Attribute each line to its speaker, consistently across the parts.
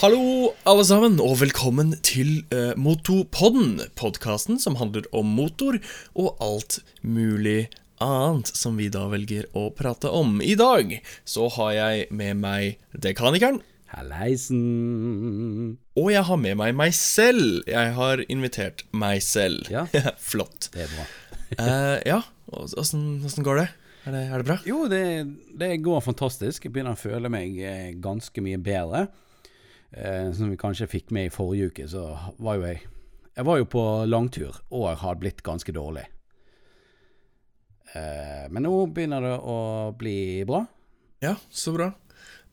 Speaker 1: Hallo, alle sammen, og velkommen til eh, Motopodden. Podkasten som handler om motor og alt mulig annet som vi da velger å prate om. I dag så har jeg med meg Dekanikeren,
Speaker 2: Halleisen.
Speaker 1: og jeg har med meg meg selv. Jeg har invitert meg selv.
Speaker 2: Ja.
Speaker 1: Flott.
Speaker 2: Det er bra.
Speaker 1: Eh, ja, og- åssen åssen går det? Er, det? er det bra?
Speaker 2: Jo, det, det går fantastisk. Jeg begynner å føle meg eh, ganske mye bedre. Eh, som vi kanskje fikk med i forrige uke, så var jo jeg Jeg var jo på langtur og jeg har blitt ganske dårlig. Eh, men nå begynner det å bli bra.
Speaker 1: Ja, så bra.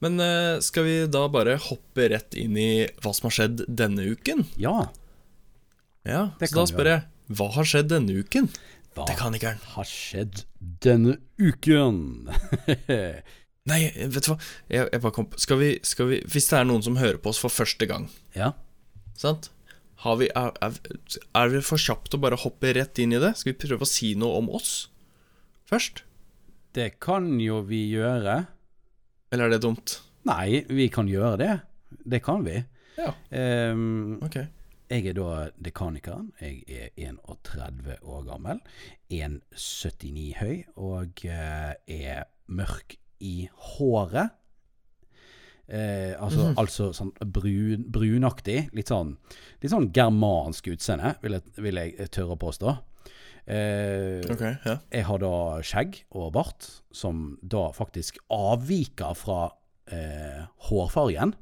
Speaker 1: Men eh, skal vi da bare hoppe rett inn i hva som har skjedd denne uken?
Speaker 2: Ja.
Speaker 1: Ja,
Speaker 2: Det
Speaker 1: så
Speaker 2: kan Ah.
Speaker 1: da
Speaker 2: vi
Speaker 1: spør jeg Hva har skjedd denne uken?
Speaker 2: Hva
Speaker 1: Dekanikeren.
Speaker 2: har skjedd denne uken?
Speaker 1: Nei, vet du hva jeg, jeg bare kom på skal vi, skal vi Hvis det er noen som hører på oss for første gang,
Speaker 2: ja.
Speaker 1: sant har vi, er, er, er det for kjapt å bare hoppe rett inn i det? Skal vi prøve å si noe om oss først?
Speaker 2: Det kan jo vi gjøre.
Speaker 1: Eller er det dumt?
Speaker 2: Nei, vi kan gjøre det. Det kan vi.
Speaker 1: Ja.
Speaker 2: Ehm,
Speaker 1: Ok.
Speaker 2: jeg er da dekanikeren. Jeg er 31 år gammel. 1,79 høy og eh, er mørk i håret. Eh, altså,
Speaker 1: Mhm.
Speaker 2: altså sånn brun, brunaktig. Litt sånn, litt sånn germansk utseende, vil jeg, vil jeg tørre å påstå. Eh,
Speaker 1: ok, ja.
Speaker 2: jeg har da skjegg og bart, som da faktisk avviker fra eh, hårfargen.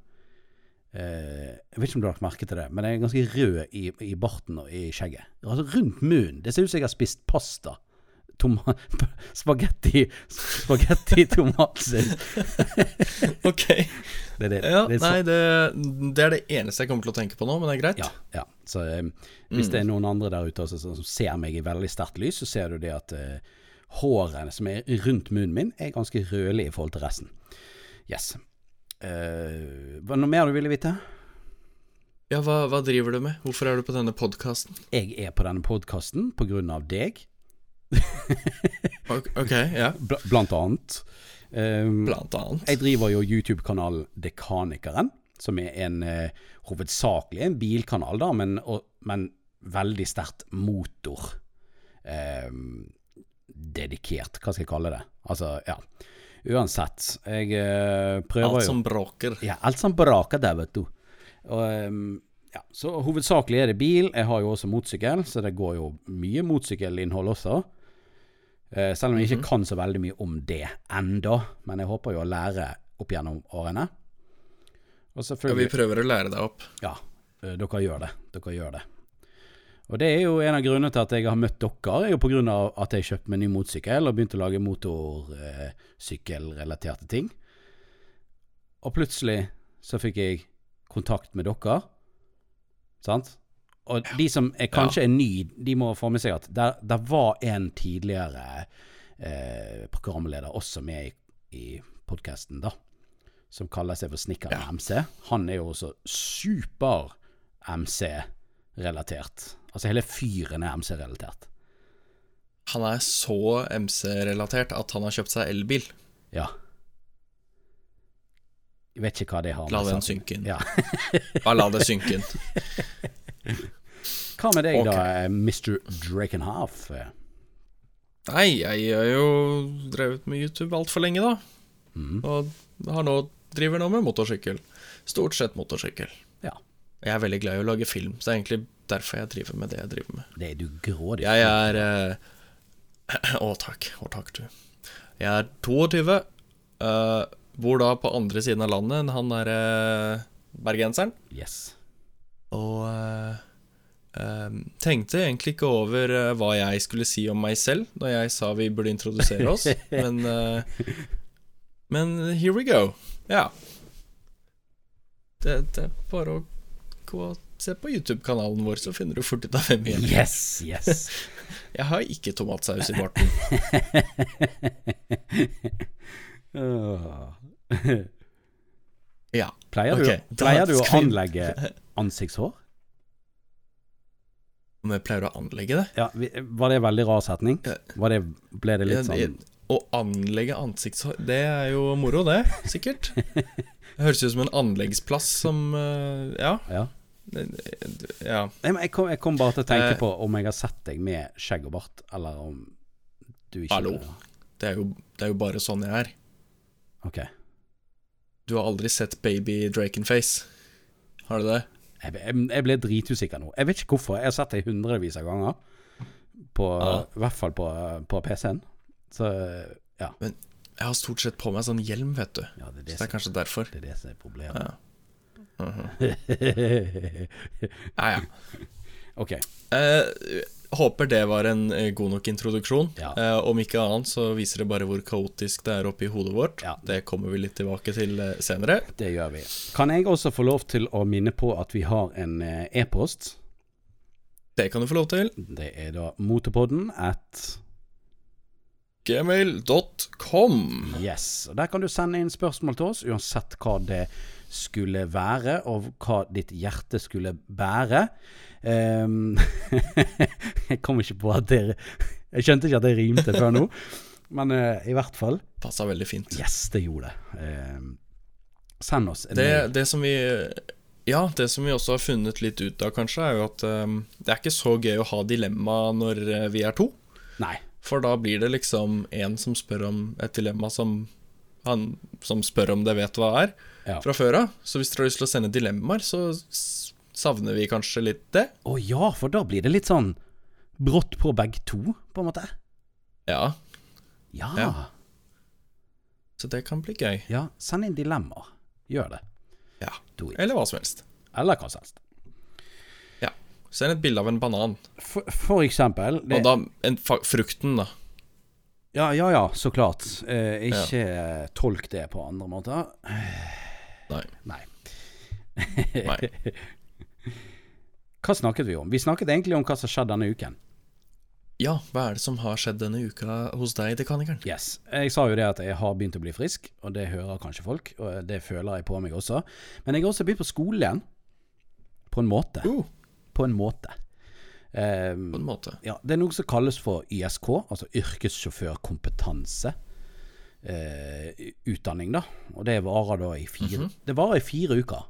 Speaker 2: Eh, jeg vet ikke om du har lagt merke til det, men jeg er ganske rød i, i barten og i skjegget. Altså rundt munnen. Det ser ut som jeg har spist pasta. Toma spagetti Spagetti tomatsaus.
Speaker 1: Ok.
Speaker 2: Det er det.
Speaker 1: Ja,
Speaker 2: det er så-
Speaker 1: nei, det, det er det eneste jeg kommer til å tenke på nå, men det er greit.
Speaker 2: Ja, ja. Så eh, hvis det er noen andre der ute også, som som ser meg i veldig sterkt lys, så ser du det at eh, hårene som er rundt munnen min, er ganske rødlig i forhold til resten. Yes. Eh, var det noe mer du ville vite?
Speaker 1: Ja, hva, hva driver du med? Hvorfor er du på denne podkasten?
Speaker 2: Jeg er på denne podkasten pga. deg,
Speaker 1: Ok, ja.
Speaker 2: bl blant annet. Eh,
Speaker 1: Blant annet.
Speaker 2: Jeg driver jo YouTube-kanalen Dekanikeren, som er en eh, hovedsakelig en bilkanal, da, men, og, men veldig sterkt motor. Eh, dedikert, hva skal jeg kalle det? Altså, ja. Uansett, jeg eh, prøver
Speaker 1: Alt
Speaker 2: jo
Speaker 1: som bråker.
Speaker 2: ja, alt som braker der, vet du. Og, ehm, ja, så hovedsakelig er det bil. Jeg har jo også motorsykkel, så det går jo mye motorsykkelinnhold også. Eh, selv om jeg
Speaker 1: Mhm.
Speaker 2: ikke kan så veldig mye om det enda, men jeg håper jo å lære opp gjennom årene. Og
Speaker 1: Ja, vi
Speaker 2: selvfølgelig
Speaker 1: prøver å lære deg opp.
Speaker 2: Ja, eh, dere gjør det. Dere gjør det. Og det er jo en av grunnene til at jeg har møtt dere, er jo på grunn av at jeg kjøpte meg ny motorsykkel og begynte å lage motorsykkelrelaterte ting. Og plutselig så fikk jeg kontakt med dere, sant? Og de som er kanskje er ny, de må få med seg at der, der var en tidligere eh, programleder også med i, i podkasten, da som kaller seg for Snikker MC, han er jo også super-MC-relatert. Altså hele fyren er MC-relatert.
Speaker 1: Han er så MC-relatert at han har kjøpt seg elbil.
Speaker 2: Ja. Jeg vet ikke hva det har
Speaker 1: La den
Speaker 2: saken-
Speaker 1: synke inn.
Speaker 2: Ja.
Speaker 1: Bare la det synke inn.
Speaker 2: Hva med deg da, eh, Mr. Drakenhoff? Eh,
Speaker 1: Nei, jeg har jo drevet med YouTube altfor lenge, da.
Speaker 2: Mhm.
Speaker 1: Og har nå, driver nå med motorsykkel. Stort sett motorsykkel.
Speaker 2: Ja.
Speaker 1: Jeg er veldig glad i å lage film, så det er egentlig derfor jeg driver med det jeg driver med.
Speaker 2: Det er du grådig.
Speaker 1: Jeg er eh, Å, takk. Å, takk, du. Jeg er 22. eh, bor da på andre siden av landet enn han derre bergenseren.
Speaker 2: Yes.
Speaker 1: Og eh, eh, tenkte egentlig ikke over eh, hva jeg skulle si om meg selv da jeg sa vi burde introdusere oss, men eh, Men here we go. Ja. Det, det er bare å gå og se på YouTube-kanalen vår, så finner du fort ut av hvem vi er.
Speaker 2: Yes, yes.
Speaker 1: Jeg har ikke tomatsaus i barten.
Speaker 2: Åh.
Speaker 1: Ja.
Speaker 2: pleier,
Speaker 1: Ok,
Speaker 2: du,
Speaker 1: da
Speaker 2: pleier du å
Speaker 1: skal vi-
Speaker 2: anlegge ansiktshår?
Speaker 1: Om jeg pleier å anlegge det?
Speaker 2: Ja, vi- var det en veldig rar setning?
Speaker 1: Ja.
Speaker 2: Var det, ble det litt
Speaker 1: Jeg-
Speaker 2: sånn
Speaker 1: Å anlegge ansiktshår, det er jo moro, det. Sikkert. Det høres ut som en anleggsplass som eh, Ja.
Speaker 2: Ja.
Speaker 1: ja.
Speaker 2: Nei, men jeg, kom, jeg kom bare til å tenke
Speaker 1: Eh.
Speaker 2: på om jeg har sett deg med skjegg og bart, eller om du ikke
Speaker 1: Hallo. Det, er jo, det er jo bare sånn jeg er.
Speaker 2: Ok.
Speaker 1: Du har aldri sett baby Drakenface. Har du det?
Speaker 2: Jeg, jeg, jeg ble dritusikker nå. Jeg vet ikke hvorfor. Jeg har sett deg hundrevis av ganger. På,
Speaker 1: Ja.
Speaker 2: I hvert fall på, på PC-en. Så ja.
Speaker 1: Jeg har stort sett på meg sånn hjelm, vet du.
Speaker 2: ja
Speaker 1: Så det er
Speaker 2: det, er det, som,
Speaker 1: kanskje derfor.
Speaker 2: det er det som er problemet.
Speaker 1: Ja. Mhm. Ja, ja.
Speaker 2: ok.
Speaker 1: Eh, håper det var en eh, god nok introduksjon.
Speaker 2: Ja.
Speaker 1: Eh, om ikke annet så viser det bare hvor kaotisk det er oppi hodet vårt.
Speaker 2: Ja.
Speaker 1: Det kommer vi litt tilbake til eh, senere.
Speaker 2: Det gjør vi. Kan jeg også få lov til å minne på at vi har en eh, e-post?
Speaker 1: Det kan du få lov til.
Speaker 2: Det er da motopodden at
Speaker 1: Gmail.com.
Speaker 2: Yes. Og Der kan du sende inn spørsmål til oss, uansett hva det skulle være, og hva ditt hjerte skulle bære. Ehm, jeg kom ikke på at det Jeg skjønte ikke at det rimte før nå, men eh, i hvert fall
Speaker 1: Passa veldig fint.
Speaker 2: Yes, det gjorde det. Ehm, send oss en mail.
Speaker 1: Det, det som vi Ja, det som vi også har funnet litt ut av, kanskje, er jo at eh, det er ikke så gøy å ha dilemma når eh, vi er to.
Speaker 2: Nei.
Speaker 1: For da blir det liksom en som spør om et dilemma som han som spør om det, vet hva er,
Speaker 2: Ja.
Speaker 1: fra før av. Så hvis dere har lyst til å sende dilemmaer, så s- savner vi kanskje litt det.
Speaker 2: Å ja, for da blir det litt sånn brått på begge to, på en måte.
Speaker 1: Ja,
Speaker 2: Ja. ja.
Speaker 1: Ja. så det kan bli gøy.
Speaker 2: Send inn dilemmaer. Gjør det.
Speaker 1: Ja.
Speaker 2: Do it.
Speaker 1: Eller hva som helst.
Speaker 2: Eller hva som helst.
Speaker 1: Ja. Send et bilde av en banan.
Speaker 2: For, for eksempel det-
Speaker 1: Og da en, fa frukten, da.
Speaker 2: Ja, ja, ja, så klart. Eh, ikke eh, tolk det på andre måter.
Speaker 1: Nei.
Speaker 2: Nei.
Speaker 1: Nei.
Speaker 2: Hva snakket vi om? Vi snakket egentlig om hva som skjedde denne uken.
Speaker 1: Ja, hva er det som har skjedd denne uka hos deg, dekanikeren?
Speaker 2: Yes. Jeg sa jo det at jeg har begynt å bli frisk, og det hører kanskje folk, og det føler jeg på meg også. Men jeg har også begynt på skolen igjen. På en måte.
Speaker 1: Uh,
Speaker 2: På en måte. Um,
Speaker 1: på en måte.
Speaker 2: Ja, det er noe som kalles for YSK, altså yrkessjåførkompetanse. Eh, utdanning, da. Og det varer da i fire Det varer i fire uker.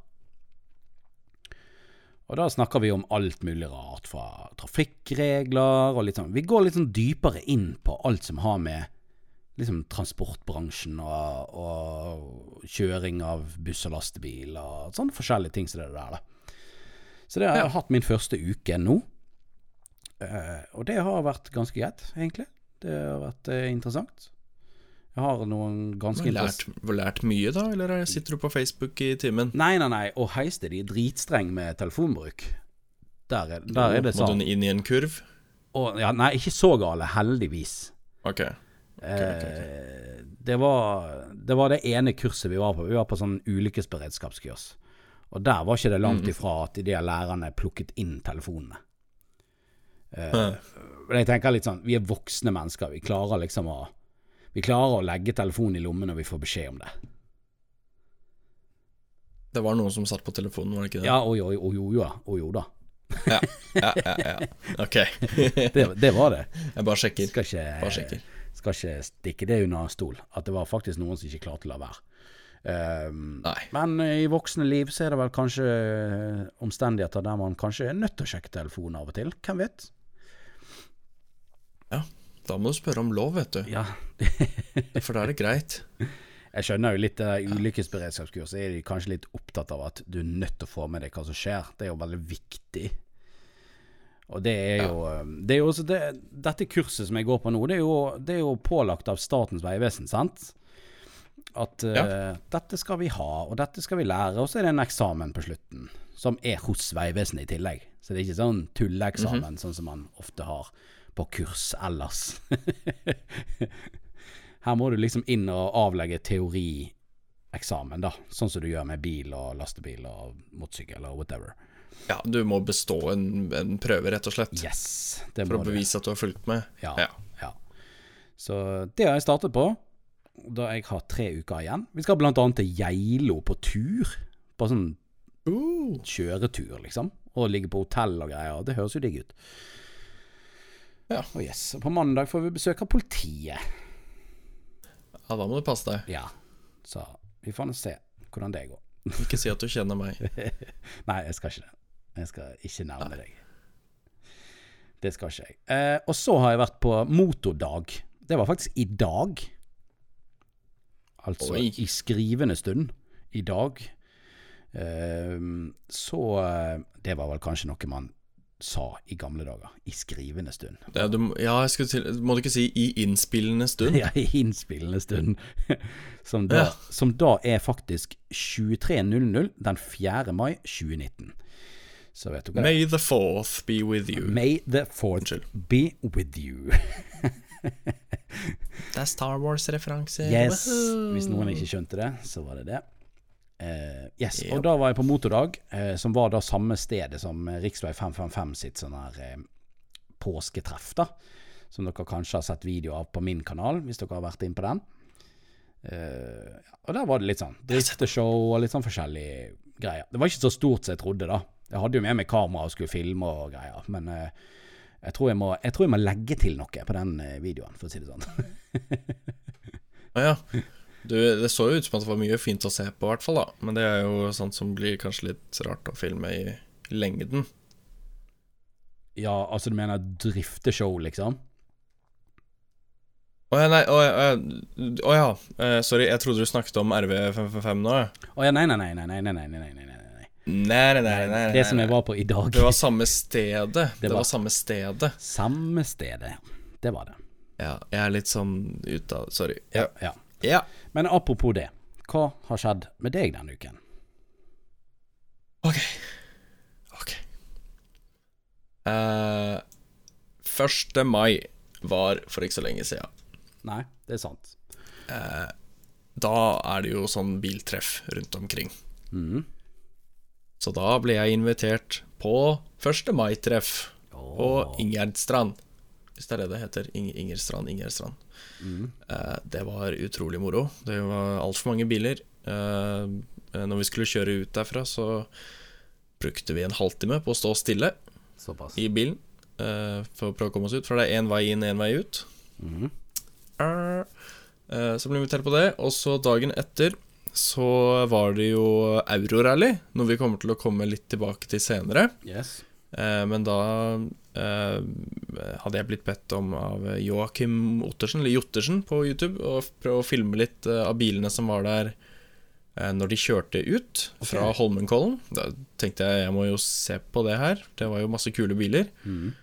Speaker 2: Og da snakker vi om alt mulig rart, fra trafikkregler og litt sånn Vi går litt sånn dypere inn på alt som har med liksom transportbransjen og, og kjøring av buss og lastebil og sånne forskjellige ting som det der, da. Så det har jeg hatt min første uke nå. Eh, og det har vært ganske greit, egentlig. Det har vært eh, interessant. Jeg har noen
Speaker 1: Du
Speaker 2: ganske
Speaker 1: har
Speaker 2: interess-
Speaker 1: lært, lært mye, da, eller er- sitter du på Facebook i timen?
Speaker 2: Nei, nei, nei. Og heiste de er dritstreng med telefonbruk. Der er, der er det
Speaker 1: Må
Speaker 2: sånn.
Speaker 1: du inn i en kurv?
Speaker 2: Og, ja, nei, ikke så gale, heldigvis.
Speaker 1: Ok. ok, ok.
Speaker 2: Eh, det, var, det var det ene kurset vi var på. Vi var på sånn ulykkesberedskapskurs. Og der var ikke det
Speaker 1: Mhm.
Speaker 2: langt ifra at de der lærerne plukket inn telefonene.
Speaker 1: Ja.
Speaker 2: Men jeg tenker litt sånn, vi er voksne mennesker. Vi klarer liksom å Vi klarer å legge telefonen i lommen når vi får beskjed om det.
Speaker 1: Det var noen som satt på telefonen, var det ikke det?
Speaker 2: Ja, og jo, og jo, jo, da, og jo da.
Speaker 1: ja, ja, ja. Ok.
Speaker 2: Det, det var det.
Speaker 1: Jeg bare sjekker.
Speaker 2: Skal ikke,
Speaker 1: Bare sjekker.
Speaker 2: skal ikke stikke det under en stol, at det var faktisk noen som ikke klarte å la være. Ehm,
Speaker 1: Nei.
Speaker 2: men i voksne liv så er det vel kanskje eh, omstendigheter der man kanskje er nødt til å sjekke telefonen av og til. Hvem vet?
Speaker 1: Da må du spørre om lov, vet du.
Speaker 2: Ja,
Speaker 1: For da er det greit.
Speaker 2: Jeg skjønner jo litt det der ulykkesberedskapskurset er de kanskje litt opptatt av at du er nødt til å få med deg hva som skjer. Det er jo veldig viktig. Og det er jo, eh, det er jo også det, Dette kurset som jeg går på nå, det er jo, det er jo pålagt av Statens vegvesen, sant? At eh, dette skal vi ha, og dette skal vi lære, og så er det en eksamen på slutten. Som er hos Vegvesenet i tillegg. Så det er ikke sånn tulleeksamen sånn som man ofte har på kurs ellers. Her må du liksom inn og avlegge teorieksamen, da. Sånn som du gjør med bil og lastebil og motorsykkel og whatever.
Speaker 1: Ja, du må bestå en, en prøve, rett og slett.
Speaker 2: Yes, det
Speaker 1: For
Speaker 2: må
Speaker 1: å
Speaker 2: du.
Speaker 1: bevise at du har fulgt med.
Speaker 2: Ja,
Speaker 1: Ja.
Speaker 2: ja. Så det har jeg startet på, da jeg har tre uker igjen. Vi skal blant annet til Geilo på tur. På sånn
Speaker 1: Uh,
Speaker 2: kjøretur, liksom. Og ligge på hotell og greier. Det høres jo digg ut.
Speaker 1: Ja.
Speaker 2: Og yes. og På mandag får vi besøk av politiet.
Speaker 1: Ja, da må du passe deg.
Speaker 2: Ja. Så vi får nå se hvordan det går.
Speaker 1: Ikke si at du kjenner meg.
Speaker 2: Nei, jeg skal ikke det. Jeg skal ikke nærme deg. Det skal ikke jeg. Eh, og så har jeg vært på motordag. Det var faktisk i dag. Altså
Speaker 1: Oi.
Speaker 2: i skrivende stund. I dag. Eh, så eh, Det var vel kanskje noe man sa i gamle dager. I skrivende stund.
Speaker 1: Det, er- du, må- ja, jeg skulle til Må du ikke si 'i innspillende stund'?
Speaker 2: Ja, i innspillende stund. Som da,
Speaker 1: Ja.
Speaker 2: som da er faktisk 23.00 den 4. mai 2019. Så vet du hva
Speaker 1: May the fourth be with you.
Speaker 2: May the fourth be with you.
Speaker 1: Det er Star Wars-referanse.
Speaker 2: Yes.
Speaker 1: Eh, Woohoo!
Speaker 2: Hvis noen ikke skjønte det, så var det det. Eh, yes,
Speaker 1: Yep.
Speaker 2: og da var jeg på Motordag, eh, som var da samme stedet som eh, Riksvei 555 sitt sånn her eh, påsketreff, da. Som dere kanskje har sett video av på min kanal, hvis dere har vært inn på den. Eh, og der var det litt sånn drifteshow og litt sånn forskjellige greier. Det var ikke så stort som jeg trodde, da. Jeg hadde jo med meg kamera og skulle filme og greier, men eh, jeg, tror jeg, må, jeg tror jeg må legge til noe på den eh, videoen, for å si det sånn.
Speaker 1: Å ja. Du, det så jo ut som at det var mye fint å se på, i hvert fall. da Men det er jo sånt som blir kanskje litt rart å filme i lengden.
Speaker 2: Ja, altså du mener drifteshow, liksom?
Speaker 1: Å ja, nei Å ja, eh, å ja. Eh, sorry, jeg trodde du snakket om RV555 nå. jeg.
Speaker 2: Å ja, nei, nei, nei, nei, nei, nei, nei, nei, nei,
Speaker 1: Nei,
Speaker 2: nei, nei.
Speaker 1: nei, nei. nei, nei
Speaker 2: Det som jeg var på i dag.
Speaker 1: Det var samme stedet. Det
Speaker 2: var-
Speaker 1: var samme stedet.
Speaker 2: Samme stedet. Det var det.
Speaker 1: Ja, jeg er litt sånn ute av Sorry. Ja.
Speaker 2: Ja.
Speaker 1: ja.
Speaker 2: Men apropos det, hva har skjedd med deg denne uken?
Speaker 1: Ok. Ok. Eh, 1. mai var for ikke så lenge siden.
Speaker 2: Nei, det er sant.
Speaker 1: Da er det jo sånn biltreff rundt omkring.
Speaker 2: Mhm.
Speaker 1: Så da ble jeg invitert på 1. mai-treff på Ingjerdstrand. Hvis det er det det heter. Ing Ingerstrand, Ingerstrand.
Speaker 2: Mm.
Speaker 1: Eh, det var utrolig moro. Det var altfor mange biler. Eh, når vi skulle kjøre ut derfra, så brukte vi en halvtime på å stå stille.
Speaker 2: Såpass.
Speaker 1: i bilen eh, for å prøve å komme oss ut, for det er én vei inn, én vei ut.
Speaker 2: Mhm.
Speaker 1: Arr. Eh, så ble vi invitert på det, og så dagen etter så var det jo Eurorally, noe vi kommer til å komme litt tilbake til senere.
Speaker 2: Yes.
Speaker 1: Eh, men da eh, hadde jeg blitt bedt om av Joakim Ottersen, eller Jottersen, på YouTube å f- prøve å filme litt eh, av bilene som var der eh, når de kjørte ut fra
Speaker 2: Ok.
Speaker 1: Holmenkollen. Da tenkte jeg jeg må jo se på det her. Det var jo masse kule biler.
Speaker 2: Mhm.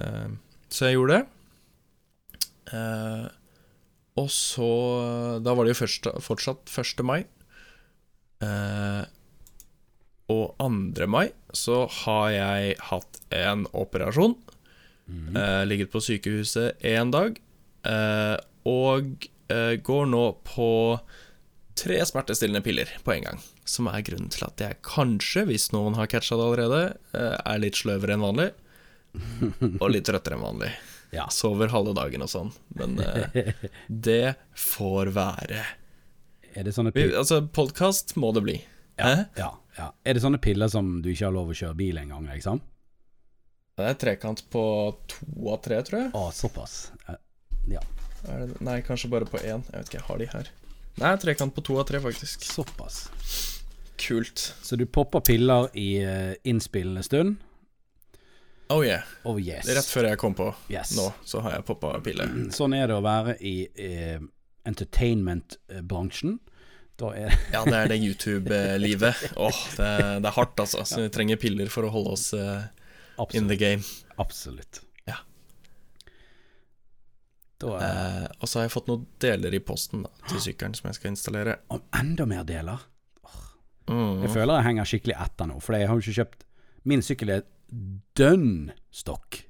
Speaker 1: Eh, så jeg gjorde det. Eh, og så Da var det jo først, fortsatt 1. mai. Eh, og 2. mai så har jeg hatt en operasjon. Eh, ligget på sykehuset én dag. eh, og eh, går nå på tre smertestillende piller på en gang. Som er grunnen til at jeg kanskje, hvis noen har catcha det allerede, eh, er litt sløvere enn vanlig. Og litt trøttere enn vanlig.
Speaker 2: Ja.
Speaker 1: Sover halve dagen og sånn. Men eh, det får være.
Speaker 2: Er det sånne
Speaker 1: Vi,
Speaker 2: piller
Speaker 1: altså, podkast må det bli. Hæ?
Speaker 2: ja, ja. Er det sånne piller som du ikke har lov å kjøre bil engang, liksom?
Speaker 1: Det er trekant på to av tre, tror jeg.
Speaker 2: Å, såpass. Eh, Ja.
Speaker 1: Er det, nei, kanskje bare på én. Jeg vet ikke, jeg har de her. Nei, trekant på to av tre, faktisk.
Speaker 2: Såpass.
Speaker 1: Kult.
Speaker 2: Så du popper piller i eh, innspillende stund?
Speaker 1: Oh yeah.
Speaker 2: Oh yes.
Speaker 1: Rett før jeg kom på
Speaker 2: Yes.
Speaker 1: nå, så har jeg poppa pille.
Speaker 2: Sånn er det å være i eh, entertainment-bransjen. Da er
Speaker 1: Ja, det er det YouTube-livet. Åh, det, er- det er hardt, altså. Så vi trenger piller for å holde oss eh, in
Speaker 2: absolutt,
Speaker 1: the game.
Speaker 2: absolutt.
Speaker 1: Ja.
Speaker 2: Da er
Speaker 1: Eh, og så har jeg fått noen deler i posten da, til sykkelen som jeg skal installere.
Speaker 2: om enda mer deler.
Speaker 1: Eh. Mm.
Speaker 2: Jeg føler jeg henger skikkelig etter nå, for jeg har jo ikke kjøpt Min sykkel er dønn stokk.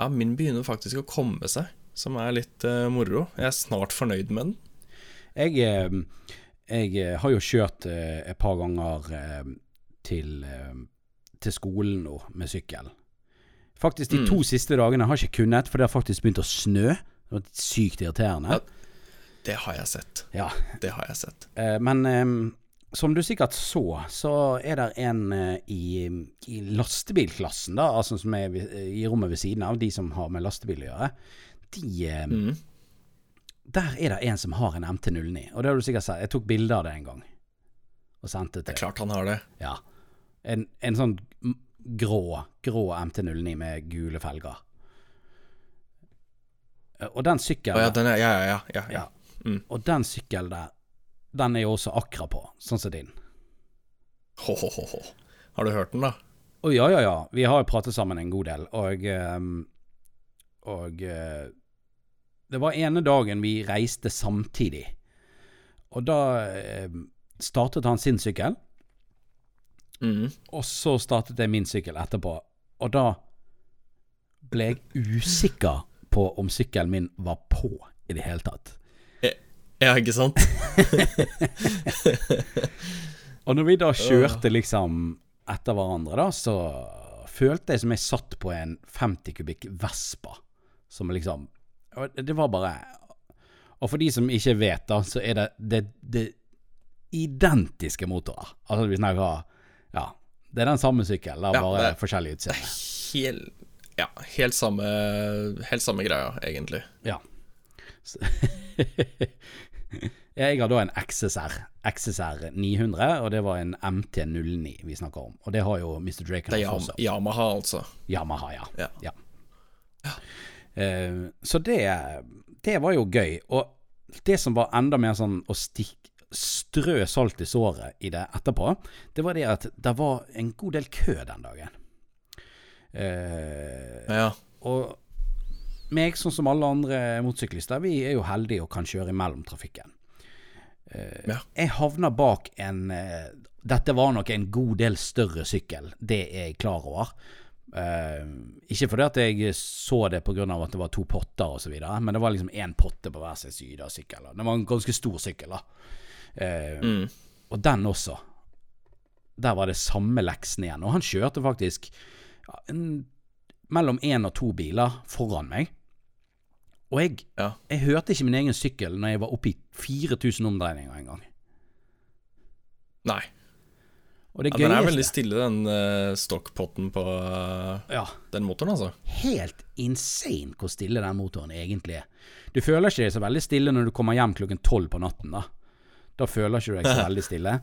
Speaker 1: Ja, min begynner faktisk å komme seg, som er litt eh, moro. Jeg er snart fornøyd med den.
Speaker 2: Jeg, eh, jeg eh, har jo kjørt eh, et par ganger eh, til, eh, til skolen nå med sykkel. Faktisk de
Speaker 1: Mm.
Speaker 2: to siste dagene har jeg ikke kunnet, for det har faktisk begynt å snø. Det var sykt irriterende.
Speaker 1: Ja. Det har jeg sett.
Speaker 2: Ja.
Speaker 1: Det har jeg sett.
Speaker 2: Eh, Men eh, som du sikkert så, så er det en eh, i, i lastebilklassen, da, altså som er ved- i rommet ved siden av, de som har med lastebil å gjøre, de eh,
Speaker 1: Mm.
Speaker 2: Der er det en som har en MT-09. Og det har du sikkert sett. Jeg tok bilde av det en gang. Og sendte
Speaker 1: Det
Speaker 2: til
Speaker 1: er klart han har det.
Speaker 2: Ja. En, en sånn m- grå, grå MT-09 med gule felger. Eh, Og den
Speaker 1: Å ja,
Speaker 2: sykkelen
Speaker 1: den er, ja, ja, ja, ja,
Speaker 2: Ja. Og den sykkelen der, den er jo også Akra på, sånn som din.
Speaker 1: Ho, ho, ho, ho. Har du hørt den, da?
Speaker 2: Å ja, ja, ja. Vi har jo pratet sammen en god del, og ehm, Og eh, det var ene dagen vi reiste samtidig. Og da ehm, startet han sin sykkel,
Speaker 1: Mm.
Speaker 2: og så startet jeg min sykkel etterpå. Og da ble jeg usikker på om sykkelen min var på i det hele tatt.
Speaker 1: Ja, ikke sant?
Speaker 2: Og når vi da kjørte liksom etter hverandre, da, så følte jeg som jeg satt på en 50 kubikk Vespa. Som liksom og Det var bare Og for de som ikke vet, da, så er det det, det identiske motorer. Altså vi snakker Ja. Det er den samme sykkelen, det er
Speaker 1: Ja,
Speaker 2: bare
Speaker 1: det-
Speaker 2: forskjellig utseende.
Speaker 1: Helt, ja, helt samme, helt samme greia, egentlig.
Speaker 2: Ja. Så- Jeg har da en XSR, XSR 900, og det var en MT09 vi snakker om. Og det har jo Mr. Drake
Speaker 1: Det er
Speaker 2: også.
Speaker 1: Yam Yamaha, altså.
Speaker 2: Yamaha, ja.
Speaker 1: Ja.
Speaker 2: Eh, så det, det var jo gøy. Og det som var enda mer sånn å stikk, strø salt i såret i det etterpå, det var det at det var en god del kø den dagen. Eh,
Speaker 1: Ja,
Speaker 2: og meg, sånn som alle andre motorsyklister, vi er jo heldige og kan kjøre imellom trafikken. Eh,
Speaker 1: Ja.
Speaker 2: Jeg havna bak en eh, Dette var nok en god del større sykkel, det er jeg klar over. Eh, ikke fordi at jeg så det pga. at det var to potter osv., men det var liksom én potte på hver sin side av sykkelen. Det var en ganske stor sykkel, da. Eh,
Speaker 1: Mm.
Speaker 2: Og den også. Der var det samme leksen igjen. Og han kjørte faktisk ja, en mellom én og to biler foran meg. Og jeg,
Speaker 1: Ja.
Speaker 2: jeg hørte ikke min egen sykkel når jeg var oppe i 4000 omdreininger en gang.
Speaker 1: Nei.
Speaker 2: Og det
Speaker 1: Ja, den er altså.
Speaker 2: gøyeste
Speaker 1: veldig stille, den eh, stokkpotten på eh,
Speaker 2: Ja,
Speaker 1: den motoren, altså.
Speaker 2: helt insane hvor stille den motoren egentlig er. Du føler ikke deg så veldig stille når du kommer hjem klokken tolv på natten, da. Da føler ikke du deg så veldig stille.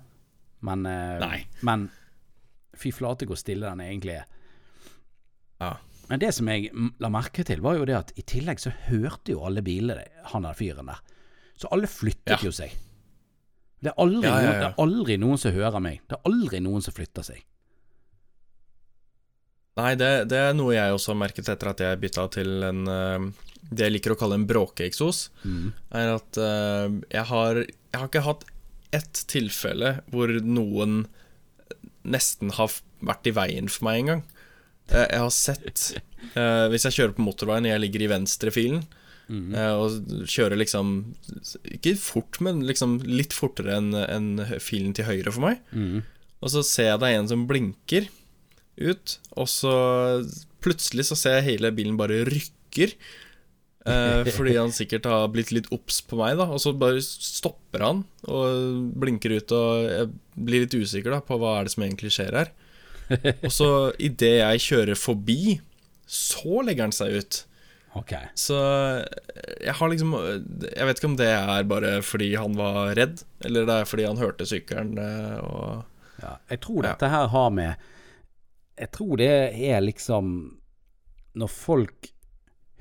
Speaker 2: Men, eh,
Speaker 1: Nei.
Speaker 2: men fy flate hvor stille den egentlig er.
Speaker 1: Ja.
Speaker 2: Men det som jeg mm, la merke til, var jo det at i tillegg så hørte jo alle bilene han der fyren der. Så alle flyttet
Speaker 1: Ja.
Speaker 2: jo seg. Det er, aldri
Speaker 1: Ja, ja,
Speaker 2: Noen, det
Speaker 1: ja.
Speaker 2: er aldri noen som hører meg. Det er aldri noen som flytter seg.
Speaker 1: Nei, det, det er noe jeg også har merket etter at jeg bytta til en eh, Det jeg liker å kalle en bråkeeksos, er at eh, jeg har Jeg har ikke hatt ett tilfelle hvor noen nesten har f- vært i veien for meg engang. Jeg, jeg har sett eh, Hvis jeg kjører på motorveien, jeg ligger i venstrefilen
Speaker 2: Mhm.
Speaker 1: eh, og kjører liksom Ikke fort, men liksom litt fortere enn enn filen til høyre for meg.
Speaker 2: Mhm.
Speaker 1: Og så ser jeg det er en som blinker ut, og så plutselig så ser jeg hele bilen bare rykker. Eh, fordi han sikkert har blitt litt obs på meg, da. Og så bare stopper han og blinker ut, og jeg blir litt usikker da på hva er det som egentlig skjer her. Og så idet jeg kjører forbi, så legger han seg ut.
Speaker 2: Ok.
Speaker 1: Så jeg har liksom Jeg vet ikke om det er bare fordi han var redd, eller det er fordi han hørte sykkelen eh, og
Speaker 2: Ja, jeg tror dette her har med Jeg tror det er liksom Når folk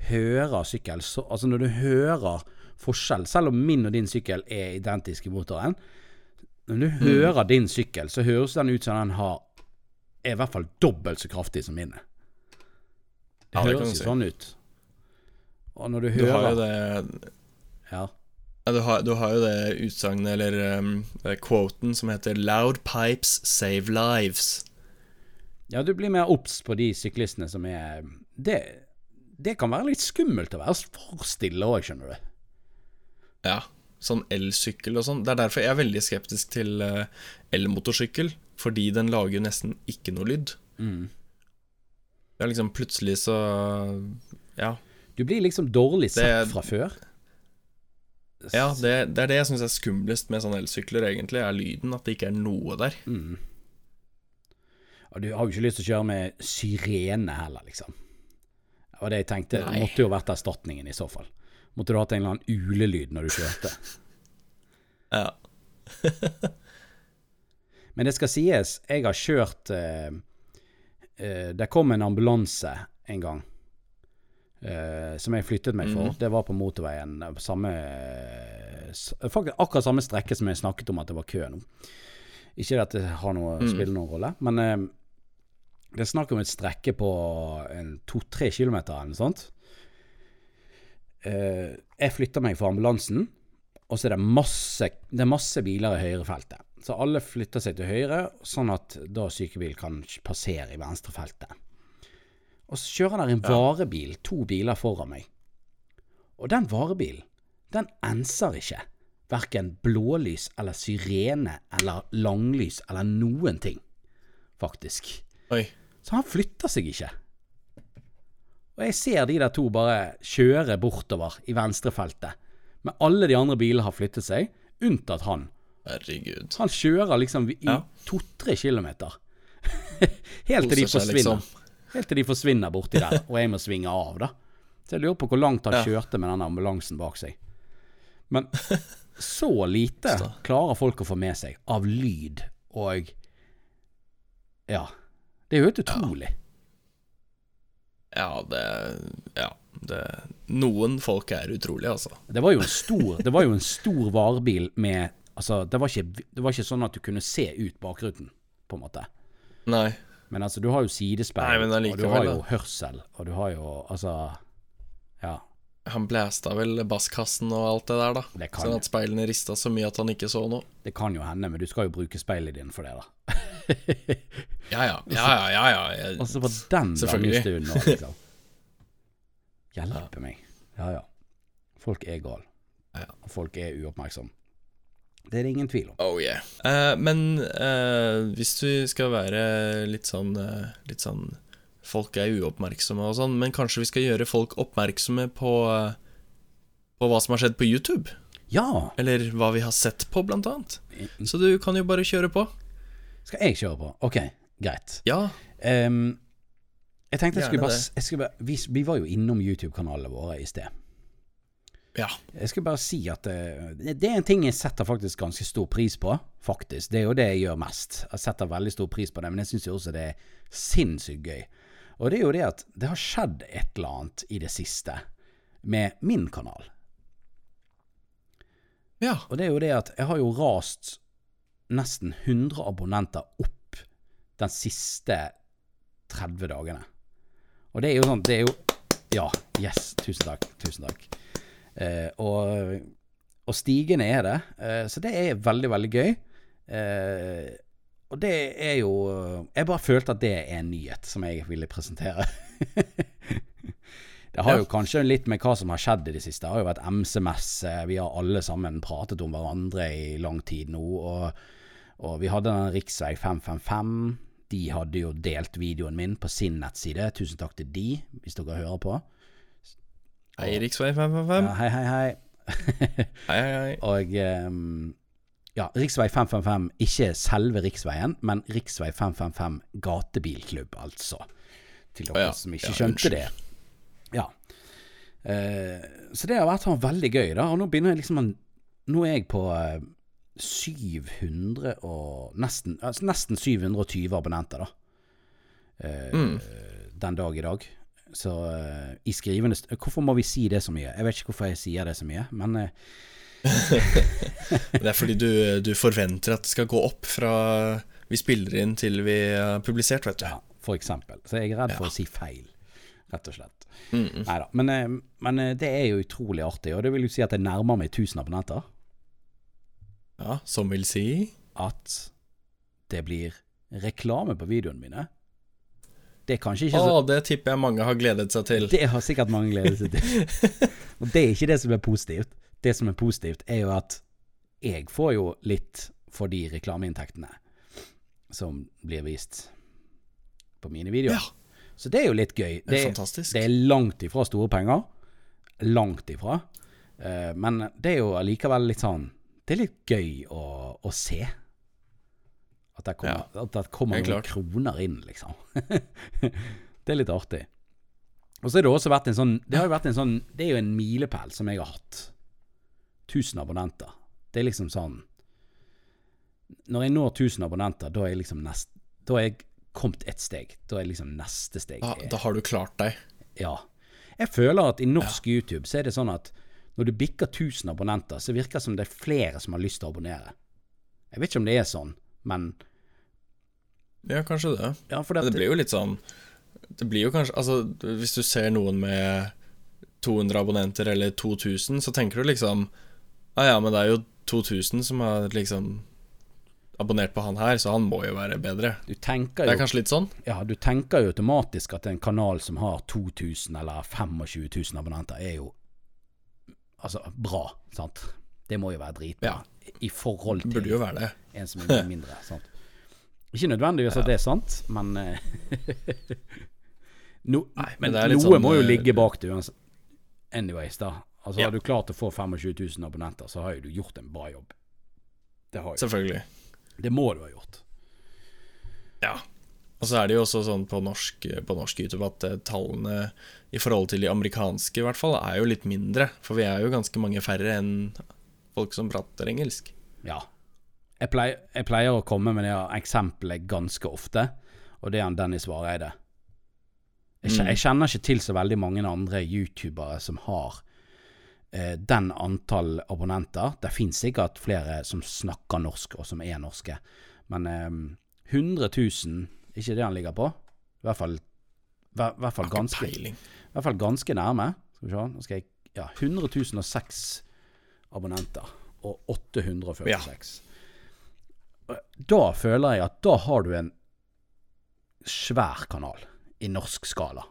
Speaker 2: hører sykkel så, Altså når du hører forskjell Selv om min og din sykkel er identiske i motoren Når du
Speaker 1: Mm.
Speaker 2: hører din sykkel, så høres den ut som den har Er i hvert fall dobbelt så kraftig som mine. Det
Speaker 1: Ja, det kan
Speaker 2: høres
Speaker 1: du
Speaker 2: jo
Speaker 1: si.
Speaker 2: sånn ut. Og når du
Speaker 1: Du
Speaker 2: hører
Speaker 1: har jo det
Speaker 2: Ja.
Speaker 1: ja, du har, du har jo det utsagnet, eller um, eh, quoten, som heter 'Loud pipes save lives'.
Speaker 2: Ja, du blir mer obs på de syklistene som er Det, det kan være litt skummelt å være for stille òg, skjønner du.
Speaker 1: Ja, Sånn elsykkel og sånn. Det er derfor jeg er veldig skeptisk til eh, elmotorsykkel. Fordi den lager nesten ikke noe lyd. Det er liksom plutselig så Ja.
Speaker 2: Du blir liksom dårlig sett
Speaker 1: Det-
Speaker 2: fra før.
Speaker 1: ja det, det er det jeg syns er skumlest med sånne elsykler, egentlig. Er lyden. At det ikke er noe der.
Speaker 2: Mm. Og du har jo ikke lyst til å kjøre med syrene heller, liksom. Det var det jeg tenkte.
Speaker 1: Nei.
Speaker 2: Det måtte jo vært erstatningen i så fall. måtte du hatt en eller annen ulelyd når du kjørte.
Speaker 1: Ja.
Speaker 2: Men det skal sies, jeg har kjørt eh, eh, Det kom en ambulanse en gang eh, som jeg flyttet meg for. Det var på motorveien. eh, Samme, eh, s- faktisk akkurat samme strekke som jeg snakket om at det var kø nå. Ikke at det har noe, spiller noen rolle, men eh, det er snakk om et strekke på en to-tre kilometer eller noe sånt. Eh, jeg flytter meg for ambulansen, og så er det masse, det er masse biler i høyrefeltet. Så alle flytter seg til høyre, sånn at da sykebil kan passere i venstrefeltet. Og så kjører der en varebil, to biler foran meg. Og den varebilen, den enser ikke. Verken blålys eller syrene eller langlys eller noen ting, faktisk.
Speaker 1: Oi.
Speaker 2: Så han flytter seg ikke. Og jeg ser de der to bare kjøre bortover i venstrefeltet. Men alle de andre bilene har flyttet seg, unntatt han.
Speaker 1: Herregud.
Speaker 2: Han kjører liksom i
Speaker 1: Ja.
Speaker 2: to-tre kilometer. Helt til de
Speaker 1: Koser seg,
Speaker 2: forsvinner.
Speaker 1: liksom.
Speaker 2: Helt til de forsvinner borti der, og jeg må svinge av, da. Så jeg lurer på hvor langt han
Speaker 1: Ja.
Speaker 2: kjørte med den ambulansen bak seg. Men så lite klarer folk å få med seg av lyd og Ja. Det er jo helt utrolig.
Speaker 1: Ja, det Ja. Det, noen folk er utrolige, altså.
Speaker 2: Det var jo en stor, det var jo en stor varebil med Altså, det var, ikke, det var ikke sånn at du kunne se ut bakruten, på en måte.
Speaker 1: Nei.
Speaker 2: Men altså, du har jo sidespeil,
Speaker 1: Nei, men
Speaker 2: og du har
Speaker 1: allikevel,
Speaker 2: jo
Speaker 1: da.
Speaker 2: hørsel, og du har jo Altså Ja.
Speaker 1: Han blæsta vel basskassen og alt det der, da.
Speaker 2: Det kan
Speaker 1: sånn
Speaker 2: jo.
Speaker 1: at speilene rista så mye at han ikke så noe.
Speaker 2: Det kan jo hende, men du skal jo bruke speilet din for det, da.
Speaker 1: Ja ja, ja ja, ja. ja. Jeg,
Speaker 2: Og så var Altså, den
Speaker 1: Selvfølgelig.
Speaker 2: langestunden nå, liksom. Hjelpe meg. Ja, ja. Folk er gal.
Speaker 1: Ja.
Speaker 2: Og folk er uoppmerksomme. Det er det ingen tvil om.
Speaker 1: Oh yeah. Eh, men eh, hvis du skal være litt sånn, eh, litt sånn Folk er uoppmerksomme og sånn, men kanskje vi skal gjøre folk oppmerksomme på eh, På hva som har skjedd på YouTube?
Speaker 2: Ja!
Speaker 1: Eller hva vi har sett på, blant annet. Så du kan jo bare kjøre på.
Speaker 2: Skal jeg kjøre på? Ok, greit.
Speaker 1: Ja.
Speaker 2: Ehm, jeg tenkte jeg
Speaker 1: Gjerne
Speaker 2: skulle bare,
Speaker 1: det.
Speaker 2: jeg skulle bare vi, vi var jo innom YouTube-kanalene våre i sted.
Speaker 1: Ja.
Speaker 2: Jeg skulle bare si at eh, det, det er en ting jeg setter faktisk ganske stor pris på. Faktisk. Det er jo det jeg gjør mest. Jeg setter veldig stor pris på det, men jeg syns jo også det er sinnssykt gøy. Og det er jo det at det har skjedd et eller annet i det siste med min kanal.
Speaker 1: Ja.
Speaker 2: Og det er jo det at jeg har jo rast nesten 100 abonnenter opp den siste 30 dagene. Og det er jo sånn, det er jo Ja, yes. Tusen takk. Tusen takk. Eh, og, og stigende er det. Eh, så det er veldig, veldig gøy. Eh, og det er jo Jeg bare følte at det er en nyhet som jeg ville presentere. Det har
Speaker 1: Ja.
Speaker 2: jo kanskje litt med hva som har skjedd i det siste. Det har jo vært MC-messe, vi har alle sammen pratet om hverandre i lang tid nå. Og, og vi hadde den Riksvei 555. De hadde jo delt videoen min på sin nettside. Tusen takk til de, hvis dere hører på.
Speaker 1: Eiriksvei
Speaker 2: Ja,
Speaker 1: 555.
Speaker 2: hei, hei, hei.
Speaker 1: Hei, hei, hei.
Speaker 2: og ehm, ja, Riksvei 555, ikke selve riksveien, men Riksvei 555 gatebilklubb, altså. Til dere
Speaker 1: Å ja,
Speaker 2: som ikke
Speaker 1: ja,
Speaker 2: skjønte
Speaker 1: unnskyld.
Speaker 2: det. Ja. Eh, så det har vært sånn veldig gøy, da. Og nå begynner jeg liksom en, Nå er jeg på eh, 700 og nesten, altså nesten 720 abonnenter, da. Eh,
Speaker 1: Mm.
Speaker 2: den dag i dag. Så eh, i skrivende st Hvorfor må vi si det så mye? Jeg vet ikke hvorfor jeg sier det så mye, men eh,
Speaker 1: Det er fordi du, du forventer at det skal gå opp fra vi spiller inn til vi har publisert, vet du.
Speaker 2: ja, for eksempel. Så jeg er redd for
Speaker 1: Ja.
Speaker 2: å si feil, rett og slett.
Speaker 1: Mm -mm.
Speaker 2: Neida, Men, eh, men eh, det er jo utrolig artig, og det vil jo si at jeg nærmer meg 1000 abonnenter.
Speaker 1: Ja, som vil si
Speaker 2: At det blir reklame på videoene mine. Det er kanskje ikke
Speaker 1: Å,
Speaker 2: så
Speaker 1: det tipper jeg mange har gledet seg til.
Speaker 2: Det har sikkert mange gledet seg til. Og det er ikke det som er positivt. Det som er positivt, er jo at jeg får jo litt for de reklameinntektene som blir vist på mine videoer.
Speaker 1: Ja.
Speaker 2: Så det er jo litt gøy.
Speaker 1: Det
Speaker 2: Det,
Speaker 1: er
Speaker 2: er-
Speaker 1: fantastisk.
Speaker 2: det er langt ifra store penger. Langt ifra. Eh, Men det er jo allikevel litt sånn Det er litt gøy å, å se. At det kommer, at det kommer
Speaker 1: Helt
Speaker 2: noen
Speaker 1: klart.
Speaker 2: kroner inn, liksom. det er litt artig. Og så har det også vært en sånn Det har jo vært en sånn Det er jo en milepæl som jeg har hatt. 1000 abonnenter. Det er liksom sånn Når jeg når 1000 abonnenter, da er jeg liksom nest Da er jeg kommet ett steg. Da er liksom neste steg
Speaker 1: Da,
Speaker 2: er-
Speaker 1: da har du klart deg.
Speaker 2: Ja. Jeg føler at i norsk YouTube så er det sånn at når du bikker 1000 abonnenter, så virker det som det er flere som har lyst til å abonnere. Jeg vet ikke om det er sånn, men
Speaker 1: Ja, kanskje det.
Speaker 2: ja, for
Speaker 1: Men
Speaker 2: det,
Speaker 1: det blir jo litt sånn Det blir jo kanskje Altså, hvis du ser noen med 200 abonnenter eller 2000, så tenker du liksom Ja ja, men det er jo 2000 som har liksom abonnert på han her, så han må jo være bedre.
Speaker 2: du tenker
Speaker 1: Det er
Speaker 2: jo
Speaker 1: kanskje litt sånn?
Speaker 2: Ja, du tenker jo automatisk at en kanal som har 2000 eller 25 000 abonnenter, er jo altså bra, sant? Det må jo være dritbra i forhold til
Speaker 1: Burde jo være det.
Speaker 2: en som er mye mindre. sant? Ikke nødvendigvis at det er sant, men eh, no,
Speaker 1: men
Speaker 2: Men
Speaker 1: det er litt
Speaker 2: noe
Speaker 1: sånn,
Speaker 2: må jo
Speaker 1: eh,
Speaker 2: ligge bak det uansett. Anyways, da. Altså,
Speaker 1: Ja.
Speaker 2: Har du klart å få 25 000 abonnenter, så har jo du gjort en bra jobb. Det har jo.
Speaker 1: Selvfølgelig.
Speaker 2: Det må du ha gjort.
Speaker 1: Ja. Og så er det jo også sånn på norsk, på norsk YouTube at eh, tallene i forhold til de amerikanske i hvert fall, er jo litt mindre. For vi er jo ganske mange færre enn folk som prater engelsk.
Speaker 2: Ja. Jeg pleier, jeg pleier å komme med det her eksempelet ganske ofte, og det er han Dennis Vareide. Jeg,
Speaker 1: Mm.
Speaker 2: kje- jeg kjenner ikke til så veldig mange andre youtubere som har eh, den antall abonnenter. Det finnes sikkert flere som snakker norsk, og som er norske, men eh, 100 000, ikke det han ligger på? I hvert fall, hver, hvert fall
Speaker 1: Har ikke
Speaker 2: ganske
Speaker 1: peiling.
Speaker 2: i hvert fall ganske nærme. Skal vi se, nå skal jeg Ja, 100.006 abonnenter. Og 846. Da føler jeg at da har du en svær kanal i norsk skala.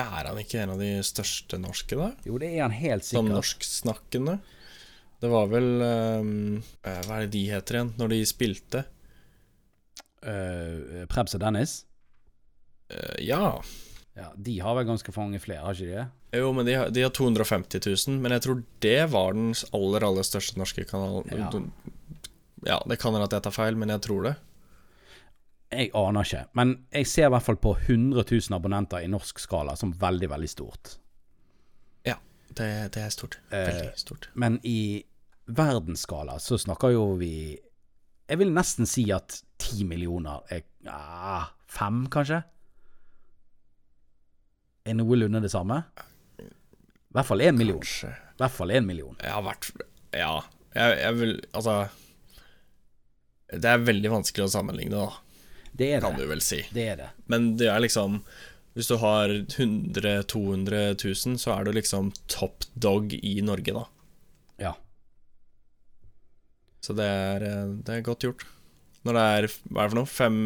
Speaker 1: Er han ikke en av de største norske, da?
Speaker 2: Jo, det er han helt
Speaker 1: Som
Speaker 2: sikkert.
Speaker 1: norsksnakkende? Det var vel ehm, eh, Hva er det de heter igjen, når de spilte?
Speaker 2: Eh, Prebz og Dennis.
Speaker 1: Eh, ja.
Speaker 2: Ja, de har vel ganske mange flere, har ikke de det?
Speaker 1: Jo, men de har, de har 250 000, men jeg tror det var den aller, aller største norske kanalen.
Speaker 2: Ja.
Speaker 1: ja, det kan hende at jeg tar feil, men jeg tror det.
Speaker 2: Jeg aner ikke. Men jeg ser i hvert fall på 100 000 abonnenter i norsk skala som veldig, veldig stort.
Speaker 1: Ja, det, det er stort. Veldig stort.
Speaker 2: Men i verdensskala så snakker jo vi Jeg vil nesten si at ti millioner er ah, fem, kanskje? Er noenlunde det samme? I hvert fall én million.
Speaker 1: Kanskje
Speaker 2: I hvert fall én million.
Speaker 1: Jeg har vært Ja. Jeg, jeg vil Altså Det er veldig vanskelig å sammenligne, da,
Speaker 2: Det er
Speaker 1: kan
Speaker 2: det.
Speaker 1: du vel si.
Speaker 2: Det er det.
Speaker 1: Men det er liksom Hvis du har 100 200 000, så er du liksom top dog i Norge, da.
Speaker 2: Ja.
Speaker 1: Så det er, eh, det er godt gjort. Når det er hva er det for noe, fem,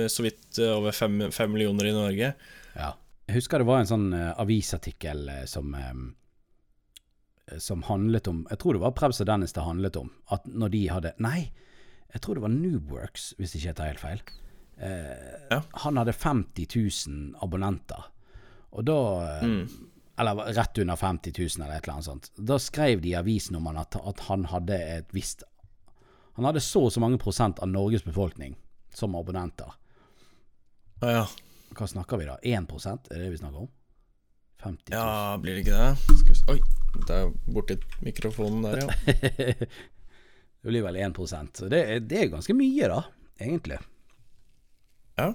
Speaker 1: eh, så vidt eh, over fem, fem millioner i Norge
Speaker 2: ja. Jeg husker det var en sånn eh, avisartikkel eh, som eh, som handlet om Jeg tror det var Prebz og Dennis det handlet om. At når de hadde Nei, jeg tror det var Newworks, hvis ikke jeg tar helt feil. eh, han hadde 50 000 abonnenter. Og da eh, Eller rett under 50 000, eller et eller annet sånt. Da skrev de i avisen om han at, at han hadde et visst Han hadde så og så mange prosent av Norges befolkning som abonnenter.
Speaker 1: Å ja.
Speaker 2: Hva snakker vi da? 1 er det vi snakker om? 50 000.
Speaker 1: ja, blir det ikke det? Skal vi, s- oi, det er borti mikrofonen der, ja.
Speaker 2: det blir vel 1 Så det, er- det er ganske mye, da, egentlig.
Speaker 1: Ja.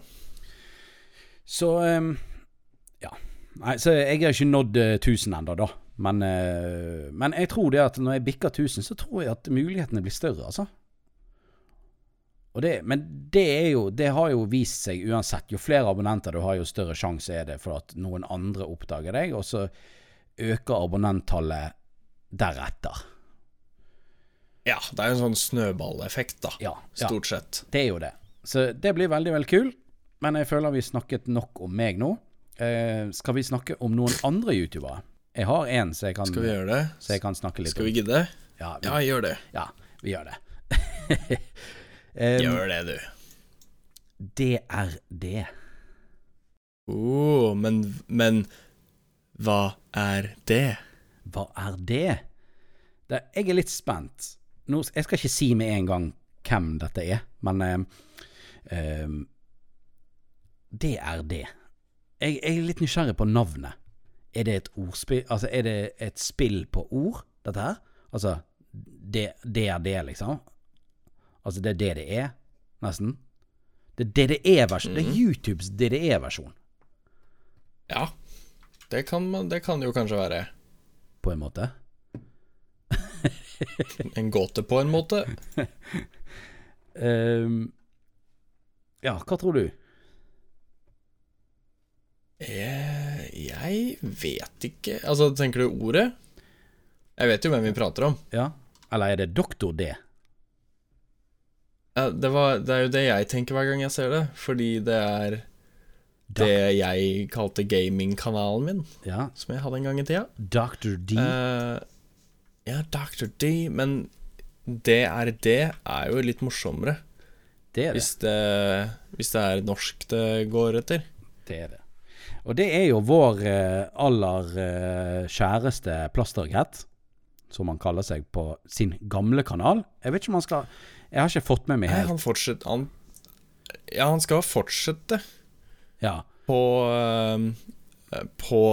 Speaker 2: Så ehm, Ja. Nei, så jeg har ikke nådd eh, 1000 ennå, da. Men, eh, men jeg tror det at når jeg bikker 1000, så tror jeg at mulighetene blir større, altså. Og det, men det er jo Det har jo vist seg uansett. Jo flere abonnenter du har, jo større sjanse er det for at noen andre oppdager deg, og så øker abonnenttallet deretter.
Speaker 1: Ja, det er jo en sånn snøballeffekt, da.
Speaker 2: Ja, ja.
Speaker 1: Stort sett.
Speaker 2: Det er jo det. Så det blir veldig, veldig kul. Men jeg føler vi snakket nok om meg nå. Eh, skal vi snakke om noen andre youtubere? Jeg har én som jeg kan,
Speaker 1: Skal vi gjøre det?
Speaker 2: så jeg kan snakke litt
Speaker 1: Skal vi gidde?
Speaker 2: om. Ja, vi,
Speaker 1: Ja, gjør det.
Speaker 2: ja, vi gjør det. um,
Speaker 1: Gjør det, du.
Speaker 2: DRD.
Speaker 1: Oh, men, men hva er det?
Speaker 2: Hva er det? det jeg er litt spent. Nå, jeg skal ikke si med en gang hvem dette ehm, er, men eh, eh, DRD Jeg, jeg er litt nysgjerrig på navnet. Er det et ordspill Altså, er det et spill på ord, dette her? Altså, det, det er det, liksom? Altså, det er det det er, nesten? Det er DDE-versjon. Det er YouTubes DDE-versjon,
Speaker 1: Ja. Det kan, man- det kan jo kanskje være
Speaker 2: på en måte.
Speaker 1: en gåte, på en måte.
Speaker 2: Ehm, ja, hva tror du?
Speaker 1: Eh, jeg vet ikke Altså, tenker du ordet? Jeg vet jo hvem vi prater om.
Speaker 2: Ja? Eller er det Doktor D?
Speaker 1: Eh, Det, var, det er jo det jeg tenker hver gang jeg ser det, fordi det er det jeg kalte gamingkanalen min,
Speaker 2: Ja.
Speaker 1: som jeg hadde en gang i tida.
Speaker 2: Dr. D.
Speaker 1: Eh, ja, Dr. D, men DRD er jo litt morsommere.
Speaker 2: det er det.
Speaker 1: Hvis det, hvis det er norsk det går etter.
Speaker 2: Det er det. Og det er jo vår eh, aller eh, kjæreste plastergrett, som han kaller seg på sin gamle kanal. Jeg vet ikke om han skal Jeg har ikke fått med meg
Speaker 1: Nei,
Speaker 2: helt.
Speaker 1: han fortsetter han, Ja, han skal fortsette
Speaker 2: Ja.
Speaker 1: på, eh, på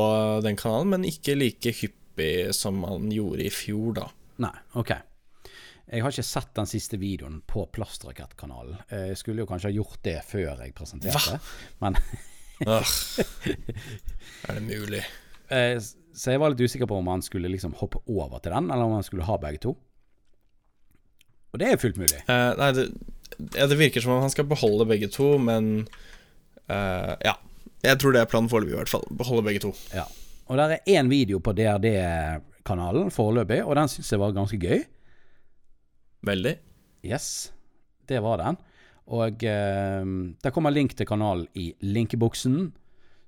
Speaker 1: den kanalen, men ikke like hyppig som han gjorde i fjor, da.
Speaker 2: Nei, OK. Jeg har ikke sett den siste videoen på Plastrakettkanalen. Eh, Jeg skulle jo kanskje ha gjort det før jeg presenterte, men
Speaker 1: Ugh. Er det mulig?
Speaker 2: eh, s- Så jeg var litt usikker på om han skulle liksom hoppe over til den, eller om han skulle ha begge to. Og det er fullt mulig.
Speaker 1: Eh, nei, det, ja, det virker som om han skal beholde begge to, men eh, Ja. Jeg tror det er planen foreløpig, i hvert fall. Beholde begge to.
Speaker 2: Ja. Og der er én video på DRD-kanalen foreløpig, og den syns jeg var ganske gøy.
Speaker 1: Veldig.
Speaker 2: Yes, det var den. Og eh, der kommer link til kanalen i linkeboksen,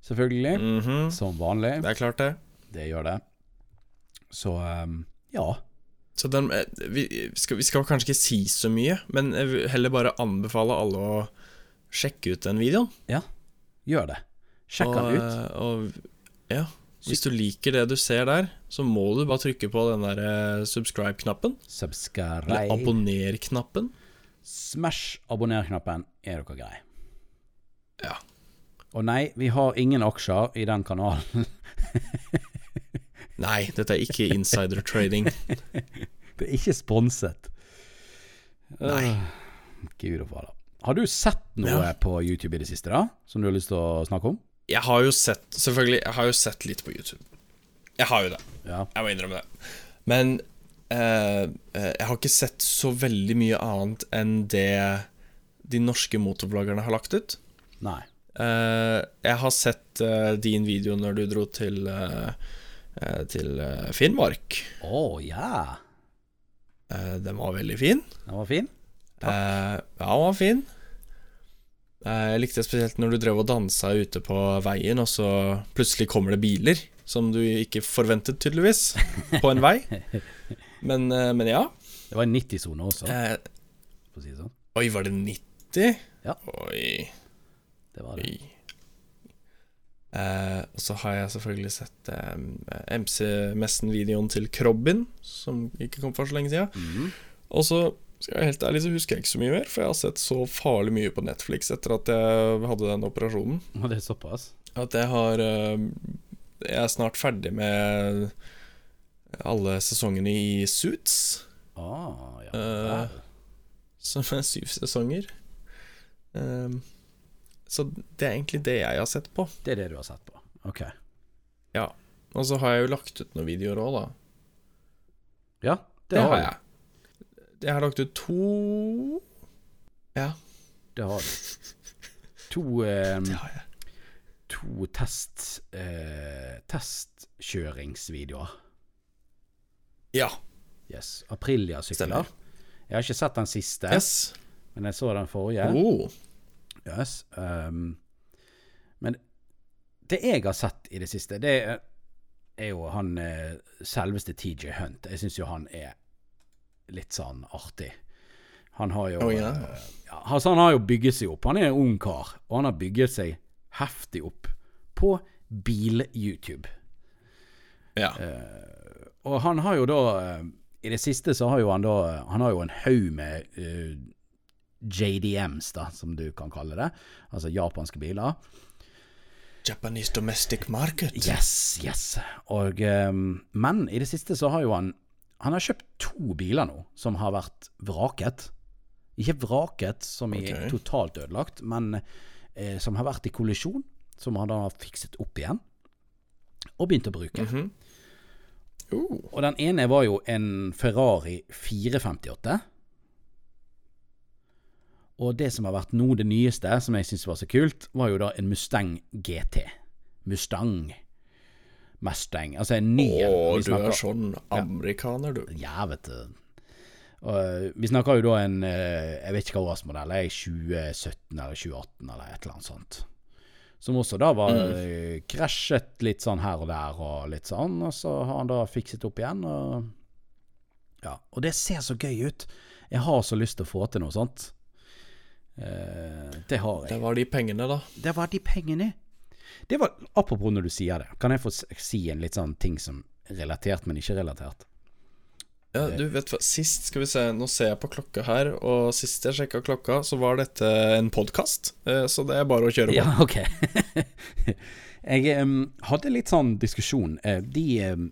Speaker 2: selvfølgelig.
Speaker 1: Mhm.
Speaker 2: Som vanlig.
Speaker 1: Det er klart, det.
Speaker 2: Det gjør det. Så eh, ja.
Speaker 1: Så den, eh, vi, skal, vi skal kanskje ikke si så mye, men jeg vil heller bare anbefale alle å sjekke ut den videoen.
Speaker 2: Gjør det. Sjekk
Speaker 1: og,
Speaker 2: den ut.
Speaker 1: eh, Og, ja. Hvis du liker det du ser der, så må du bare trykke på den der eh, subscribe-knappen. Eller
Speaker 2: Subscribe.
Speaker 1: abonner-knappen.
Speaker 2: Smash abonner-knappen, er dere greie.
Speaker 1: Ja.
Speaker 2: Og nei, vi har ingen aksjer i den kanalen.
Speaker 1: Nei, dette er ikke insider trading.
Speaker 2: Det er ikke sponset.
Speaker 1: Nei.
Speaker 2: Øh, Gud og fader. Har du sett noe
Speaker 1: Ja.
Speaker 2: på YouTube i det siste, da? Som du har lyst til å snakke om?
Speaker 1: Jeg har jo sett Selvfølgelig, jeg har jo sett litt på YouTube. Jeg har jo det.
Speaker 2: Ja.
Speaker 1: Jeg må innrømme det. Men eh, eh, jeg har ikke sett så veldig mye annet enn det de norske motorvloggerne har lagt ut.
Speaker 2: Nei.
Speaker 1: Eh, jeg har sett eh, din video når du dro til eh, eh, Til eh, Finnmark.
Speaker 2: Å ja.
Speaker 1: Eh, den var veldig fin.
Speaker 2: Den var fin.
Speaker 1: Eh, ja, den var fin. Eh, jeg likte spesielt når du drev og dansa ute på veien, og så plutselig kommer det biler. Som du ikke forventet, tydeligvis, på en vei. Men, eh, men ja.
Speaker 2: Det var en 90-sone også,
Speaker 1: Eh,
Speaker 2: for å si det sånn.
Speaker 1: Oi, var det 90?
Speaker 2: Ja.
Speaker 1: Oi,
Speaker 2: Det var det.
Speaker 1: oi. Eh, og så har jeg selvfølgelig sett eh, MC-messen-videoen til Krobbin, som ikke kom for så lenge siden.
Speaker 2: Mhm.
Speaker 1: Og så skal jeg være helt ærlig, så husker jeg ikke så mye mer, for jeg har sett så farlig mye på Netflix etter at jeg hadde den operasjonen,
Speaker 2: Og det er såpass?
Speaker 1: at jeg har eh, Jeg er snart ferdig med alle sesongene i Suits.
Speaker 2: Ah, ja.
Speaker 1: Eh,
Speaker 2: vel.
Speaker 1: som er syv sesonger. Ehm, så det er egentlig det jeg har sett på.
Speaker 2: det er det du har sett på. Ok.
Speaker 1: Og så har jeg jo lagt ut noen videoer òg, da.
Speaker 2: Ja, det,
Speaker 1: Det har
Speaker 2: har du.
Speaker 1: jeg. Jeg har lagt ut to
Speaker 2: Det har du. To, eh,
Speaker 1: Det har jeg.
Speaker 2: to test, eh, testkjøringsvideoer.
Speaker 1: Ja.
Speaker 2: Yes. Aprilia-sykler.
Speaker 1: Stemmer.
Speaker 2: Jeg har ikke sett den siste,
Speaker 1: Yes.
Speaker 2: men jeg så den forrige.
Speaker 1: Oh.
Speaker 2: Yes. Um, men det jeg har sett i det siste, det er- er jo han eh, selveste TJ Hunt. Jeg syns jo han er litt sånn artig. Han har jo
Speaker 1: Å, ja.
Speaker 2: eh, ja, altså Han har jo bygget seg opp. Han er en ung kar, og han har bygget seg heftig opp på bil-YouTube.
Speaker 1: Ja.
Speaker 2: Og han har jo da eh, I det siste så har jo han da Han har jo en haug med eh, JDMs, da, som du kan kalle det. Altså japanske biler.
Speaker 1: Japanese domestic market.
Speaker 2: Yes, yes. Og, eh, men i det siste så har jo han Han har kjøpt to biler nå som har vært vraket. Ikke vraket som i
Speaker 1: Ok.
Speaker 2: totalt ødelagt, men eh, som har vært i kollisjon. Som han da har fikset opp igjen, og begynt å bruke.
Speaker 1: Mhm. Oh,
Speaker 2: Og den ene var jo en Ferrari 458. Og det som har vært nå det nyeste, som jeg syns var så kult, var jo da en Mustang GT. Mustang. Mustang. Altså en ny en.
Speaker 1: Åh,
Speaker 2: Vi
Speaker 1: du er
Speaker 2: snakker-
Speaker 1: sånn amerikaner, du.
Speaker 2: Ja, vet du. Og vi snakker jo da en eh, Jeg vet ikke hva årsmodell er, 2017 eller 2018 eller et eller annet sånt. Som også da var eh, krasjet litt sånn her og der og litt sånn, og så har han da fikset opp igjen. Og, ja. og det ser så gøy ut. Jeg har så lyst til å få til noe sånt. Eh, det har jeg.
Speaker 1: Det var de pengene, da.
Speaker 2: Det var de pengene. Det var, Apropos når du sier det, kan jeg få s- si en litt sånn ting som er relatert, men ikke relatert?
Speaker 1: Ja, du vet hva, Sist skal vi se, nå ser jeg på klokka her, og sist jeg sjekka klokka, så var dette en podkast. Så det er bare å kjøre på.
Speaker 2: Ja, ok. jeg em, hadde litt sånn diskusjon. Eh, de em,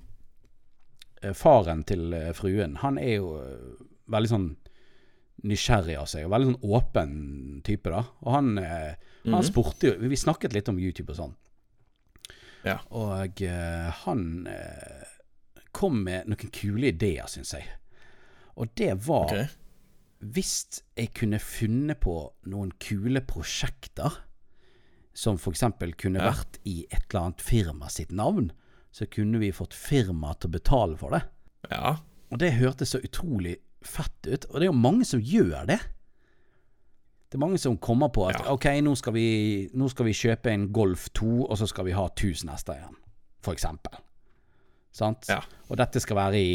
Speaker 2: eh, Faren til eh, fruen, han er jo eh, veldig sånn nysgjerrig av seg, og veldig sånn åpen type, da. Og han, eh,
Speaker 1: Mhm.
Speaker 2: han spurte jo Vi snakket litt om YouTube og sånn.
Speaker 1: Ja.
Speaker 2: Og eh, han eh, kom med noen kule ideer, syns jeg. Og det var
Speaker 1: Ok.
Speaker 2: hvis jeg kunne funnet på noen kule prosjekter, som f.eks. kunne
Speaker 1: Ja.
Speaker 2: vært i et eller annet firma sitt navn, så kunne vi fått firmaet til å betale for det.
Speaker 1: Ja.
Speaker 2: Og det hørtes så utrolig fett ut. Og det er jo mange som gjør det. Det er mange som kommer på at
Speaker 1: Ja.
Speaker 2: ok, nå skal, vi, nå skal vi kjøpe en Golf 2, og så skal vi ha 1000 hester igjen, for eksempel. Sant?
Speaker 1: Ja.
Speaker 2: Og dette skal være i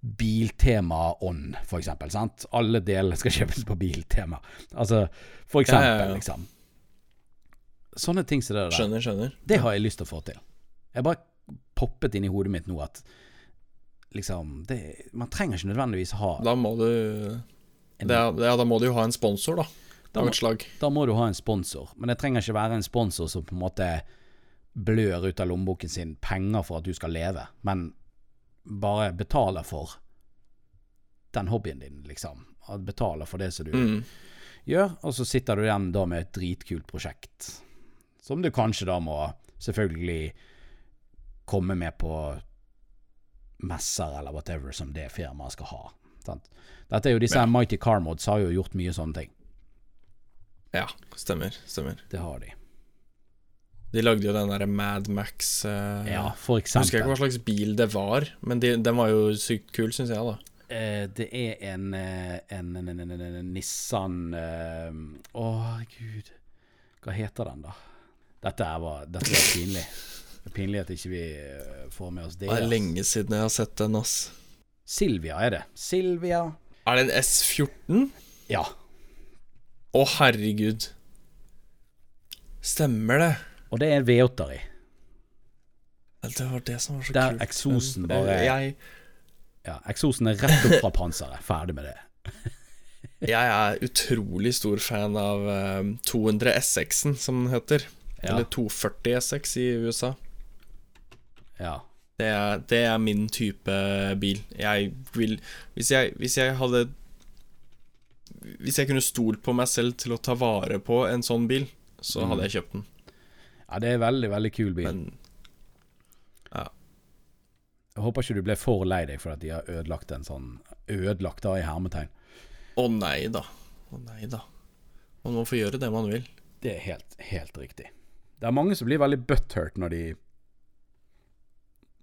Speaker 2: Biltema ånd, for eksempel. Sant? Alle delene skal kjøpes på Biltema. Altså, for
Speaker 1: Ja,
Speaker 2: eksempel,
Speaker 1: ja, ja.
Speaker 2: liksom. Sånne ting som det der.
Speaker 1: Skjønner, skjønner.
Speaker 2: Det har jeg lyst til å få til. Jeg bare poppet inn i hodet mitt nå at liksom det, Man trenger ikke nødvendigvis ha
Speaker 1: Da må du det, er- Ja, da må du jo ha en sponsor, da.
Speaker 2: Da
Speaker 1: Av
Speaker 2: må-
Speaker 1: et slag.
Speaker 2: Da må du ha en sponsor, men det trenger ikke være en sponsor som på en måte blør ut av lommeboken sin penger for at du skal leve, men bare betaler for den hobbyen din, liksom. Betaler for det som du
Speaker 1: Mm.
Speaker 2: gjør, og så sitter du igjen da med et dritkult prosjekt. Som du kanskje da må selvfølgelig komme med på messer eller whatever som det firmaet skal ha. Sant? Dette er jo disse her Mighty Car Mods har jo gjort mye sånne ting.
Speaker 1: Ja, stemmer. Stemmer.
Speaker 2: Det har de.
Speaker 1: De lagde jo den derre Mad Max eh,
Speaker 2: Ja, for
Speaker 1: Husker jeg ikke
Speaker 2: eksempel.
Speaker 1: hva slags bil det var, men de, den var jo sykt kul, syns jeg, da.
Speaker 2: Eh, det er en, eh, en, en, en, en, en, en Nissan eh, Å, herregud. Hva heter den, da? Dette er, bare- dette er pinlig. Det er Pinlig at ikke vi eh, får med oss det.
Speaker 1: Det er
Speaker 2: altså.
Speaker 1: lenge siden jeg har sett den, ass.
Speaker 2: Silvia er det. Silvia
Speaker 1: Er det en S14?
Speaker 2: Ja.
Speaker 1: Å, herregud. Stemmer det.
Speaker 2: Og det er en V8-er i.
Speaker 1: Det var det som var så
Speaker 2: Der
Speaker 1: kult.
Speaker 2: eksosen
Speaker 1: Men,
Speaker 2: bare-
Speaker 1: eh, Jeg,
Speaker 2: Ja, eksosen er rett opp fra panseret. Ferdig med det.
Speaker 1: jeg er utrolig stor fan av eh, 200 SX-en, som den heter.
Speaker 2: Ja.
Speaker 1: Eller 240 SX i USA.
Speaker 2: Ja.
Speaker 1: Det er, det er min type bil. Jeg vil Hvis jeg, hvis jeg hadde Hvis jeg kunne stolt på meg selv til å ta vare på en sånn bil, så hadde jeg kjøpt den.
Speaker 2: ja, det er en veldig, veldig kul bil.
Speaker 1: Men
Speaker 2: Jeg håper ikke du ble for lei deg for at de har ødelagt en sånn Ødelagt da i hermetegn.
Speaker 1: å nei da. Å nei da. Man må få gjøre det man vil.
Speaker 2: Det er helt, helt riktig. Det er mange som blir veldig butthurt når de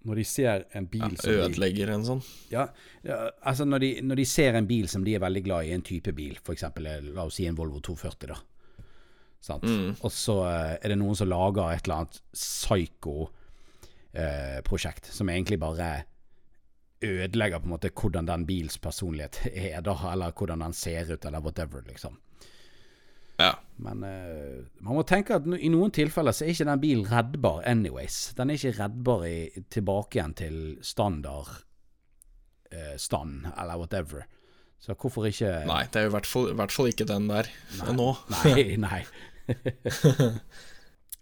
Speaker 2: Når de ser en bil som de-
Speaker 1: Ødelegger en sånn.
Speaker 2: Ja, ja, altså når de, når de ser en bil som de er veldig glad i, en type bil, f.eks. la oss si en Volvo 240, da. Sant?
Speaker 1: Mm.
Speaker 2: Og så eh, er det noen som lager et eller annet psyko-prosjekt, som egentlig bare ødelegger på en måte hvordan den bils personlighet er, da, eller hvordan den ser ut, eller whatever, liksom.
Speaker 1: Ja.
Speaker 2: Men eh, man må tenke at no- i noen tilfeller så er ikke den bilen reddbar anyways. Den er ikke reddbar i, tilbake igjen til standard eh, stand, eller whatever. Så hvorfor ikke
Speaker 1: Nei, det er jo i hvert fall, i hvert fall ikke den der nå.
Speaker 2: Nei, nei.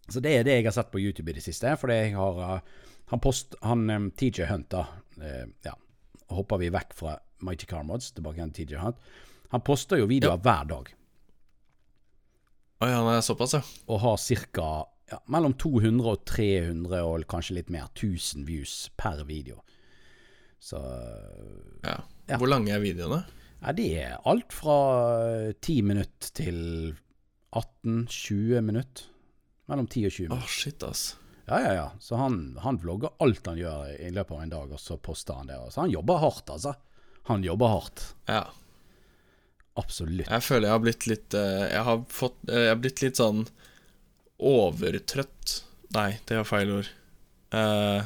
Speaker 2: Så det er det jeg har sett på YouTube i det siste. For jeg har eh, Han, post, han eh, TJ Hunt, da eh, Ja, hopper vi vekk fra Mighty Car Mods tilbake igjen til TJ Hunt. Han poster jo videoer hver dag,
Speaker 1: Å ja, nei, såpass, ja.
Speaker 2: og har ca. Ja, mellom 200 og 300, og kanskje litt mer, 1000 views per video. Så
Speaker 1: ja.
Speaker 2: Ja.
Speaker 1: Hvor lange er videoene?
Speaker 2: Ja, det er alt fra eh, 10 minutter til 18-20 minutter. Mellom 10 og 20
Speaker 1: Å,
Speaker 2: minutter.
Speaker 1: shit, ass.
Speaker 2: Ja, ja, ja. Så han, han vlogger alt han gjør i løpet av en dag, og så poster han det. Så han jobber hardt, altså. Han jobber hardt.
Speaker 1: Ja.
Speaker 2: Absolutt.
Speaker 1: Jeg føler jeg har blitt litt eh, Jeg har fått eh, Jeg har blitt litt sånn overtrøtt Nei, det var feil ord. Eh,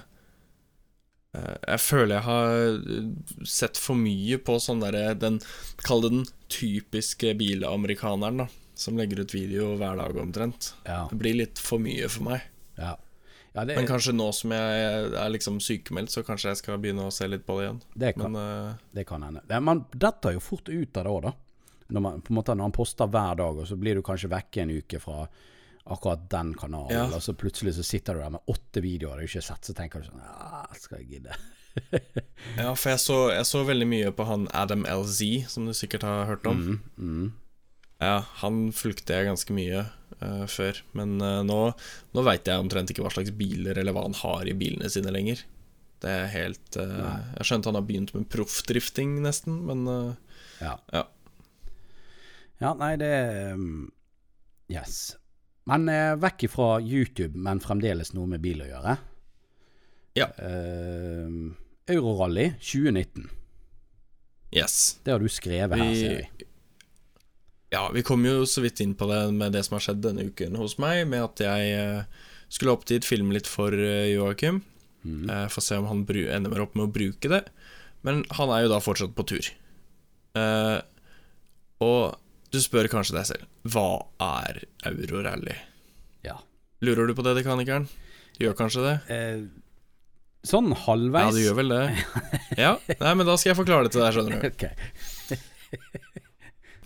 Speaker 1: eh, jeg føler jeg har sett for mye på sånn derre den Kall det den typiske bilamerikaneren, da. Som legger ut video hver dag omtrent.
Speaker 2: Ja.
Speaker 1: Det blir litt for mye for meg.
Speaker 2: ja. ja det,
Speaker 1: Men kanskje nå som jeg er liksom sykemeldt, så kanskje jeg skal begynne å se litt på det igjen.
Speaker 2: det, kan,
Speaker 1: Men eh,
Speaker 2: det kan hende. Men man detter jo fort ut av det òg, da. Når, man, på en måte, når han poster hver dag, og så blir du kanskje vekke en uke fra akkurat den kanalen,
Speaker 1: Ja.
Speaker 2: og så plutselig så sitter du der med åtte videoer du ikke har sett, så tenker du sånn Ja, skal jeg gidde?
Speaker 1: Ja, for jeg så, jeg så veldig mye på han Adam LZ, som du sikkert har hørt om.
Speaker 2: Mm, mm.
Speaker 1: Ja, Han fulgte jeg ganske mye eh, før, men eh, nå, nå veit jeg omtrent ikke hva slags biler eller hva han har i bilene sine lenger. Det er helt eh,
Speaker 2: Nei.
Speaker 1: Jeg skjønte han har begynt med proffdrifting, nesten, men eh,
Speaker 2: Ja.
Speaker 1: Ja.
Speaker 2: Ja, nei, det um, Yes. Men eh, vekk ifra YouTube, men fremdeles noe med bil å gjøre.
Speaker 1: Ja.
Speaker 2: Eh, Eurorally 2019.
Speaker 1: yes.
Speaker 2: Det har du skrevet her,
Speaker 1: Vi-
Speaker 2: ser jeg.
Speaker 1: Ja, vi kom jo så vidt inn på det med det som har skjedd denne uken hos meg, med at jeg eh, skulle opp dit, filme litt for uh, Joakim.
Speaker 2: Mm.
Speaker 1: Eh, Får se om han bru- ender opp med å bruke det. Men han er jo da fortsatt på tur. Eh, og du spør kanskje deg selv Hva er Eurorally?
Speaker 2: Ja.
Speaker 1: Lurer du på det, dekanikeren? Du gjør kanskje det?
Speaker 2: Eh, sånn
Speaker 1: Ja,
Speaker 2: halvveis
Speaker 1: du gjør vel det. Ja, Nei, men da skal jeg forklare det til deg, skjønner du.
Speaker 2: Ok.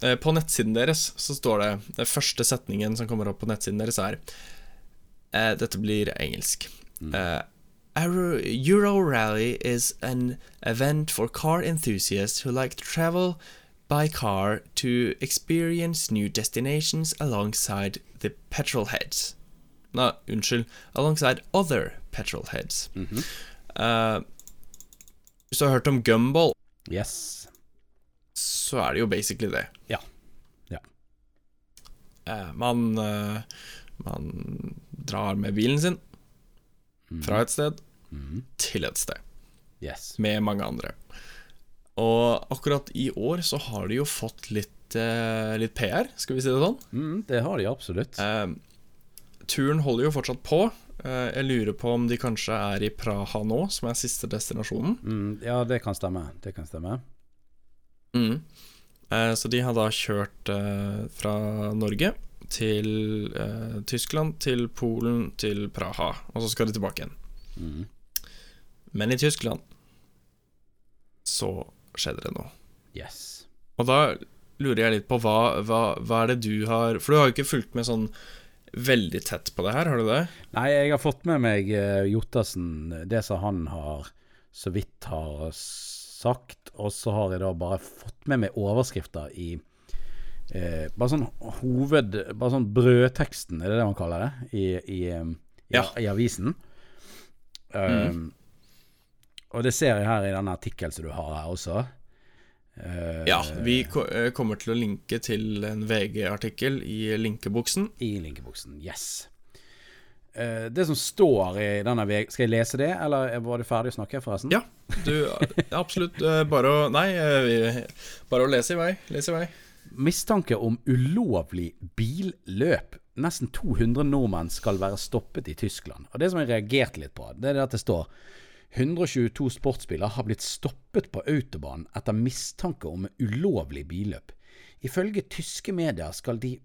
Speaker 1: Eh, På nettsiden deres så står det Den første setningen som kommer opp på nettsiden deres er eh, Dette blir engelsk eh, Euro, Euro Rally is an event for car enthusiasts who like to travel by car to experience new destinations alongside the petrol heads. Nei, unnskyld. Alongside other petrol heads.
Speaker 2: Mhm.
Speaker 1: Eh, hvis du har hørt om gumball,
Speaker 2: Yes.
Speaker 1: så er det jo basically det.
Speaker 2: Ja. Ja.
Speaker 1: Eh, man, eh, man drar med bilen sin
Speaker 2: Mm.
Speaker 1: fra et sted
Speaker 2: Mm.
Speaker 1: til et sted,
Speaker 2: Yes.
Speaker 1: med mange andre. Og akkurat i år så har de jo fått litt, eh, litt PR, skal vi si det sånn.
Speaker 2: Mm, det har de absolutt.
Speaker 1: Eh, turen holder jo fortsatt på. Eh, jeg lurer på om de kanskje er i Praha nå, som er siste destinasjonen.
Speaker 2: Mm, ja, det kan stemme. Det kan stemme.
Speaker 1: Eh, Så de har da kjørt eh, fra Norge til eh, Tyskland, til Polen, til Praha. Og så skal de tilbake igjen.
Speaker 2: Mm.
Speaker 1: Men i Tyskland så skjedde det noe.
Speaker 2: Yes.
Speaker 1: Og da lurer jeg litt på hva, hva, hva er det du har For du har jo ikke fulgt med sånn veldig tett på det her, har du det?
Speaker 2: Nei, jeg har fått med meg eh, Jottassen, det som han har så vidt har sagt, og så har jeg da bare fått med meg overskrifter i eh, Bare sånn hoved... Bare sånn brødteksten, er det det man kaller det? I, i, em, i,
Speaker 1: Ja.
Speaker 2: i avisen. Um, Og det ser jeg her i denne artikkelen som du har her også. Eh,
Speaker 1: Ja. Vi ko- eh, kommer til å linke til en VG-artikkel i linkebuksen.
Speaker 2: I linkeboksen. Yes. Eh, det som står i denne VG Skal jeg lese det, eller var du ferdig å snakke, forresten?
Speaker 1: Ja, du Absolutt. eh, Bare å Nei, eh, vi- bare å lese i vei. Les i vei.
Speaker 2: Mistanke om ulovlig billøp. Nesten 200 nordmenn skal være stoppet i Tyskland. Og Det som jeg reagerte litt på, det er det at det står 122 sportsbiler har blitt stoppet på autobanen etter mistanke om ulovlig billøp. Ifølge tyske medier skal, de,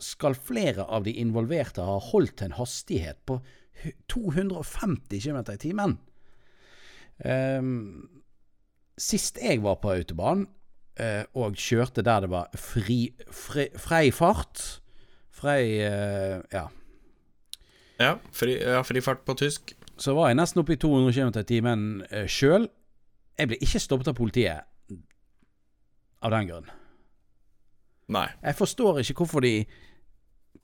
Speaker 2: skal flere av de involverte ha holdt en hastighet på hu- 250 km i timen. Ehm, sist jeg var på autobanen, eh, og kjørte der det var fri, fri, frei fart Frei eh, ja.
Speaker 1: Ja, fri, ja, frifart på tysk.
Speaker 2: Så var jeg nesten oppe i 200 km i timen eh, sjøl. Jeg ble ikke stoppet av politiet av den grunn.
Speaker 1: Nei.
Speaker 2: Jeg forstår ikke hvorfor de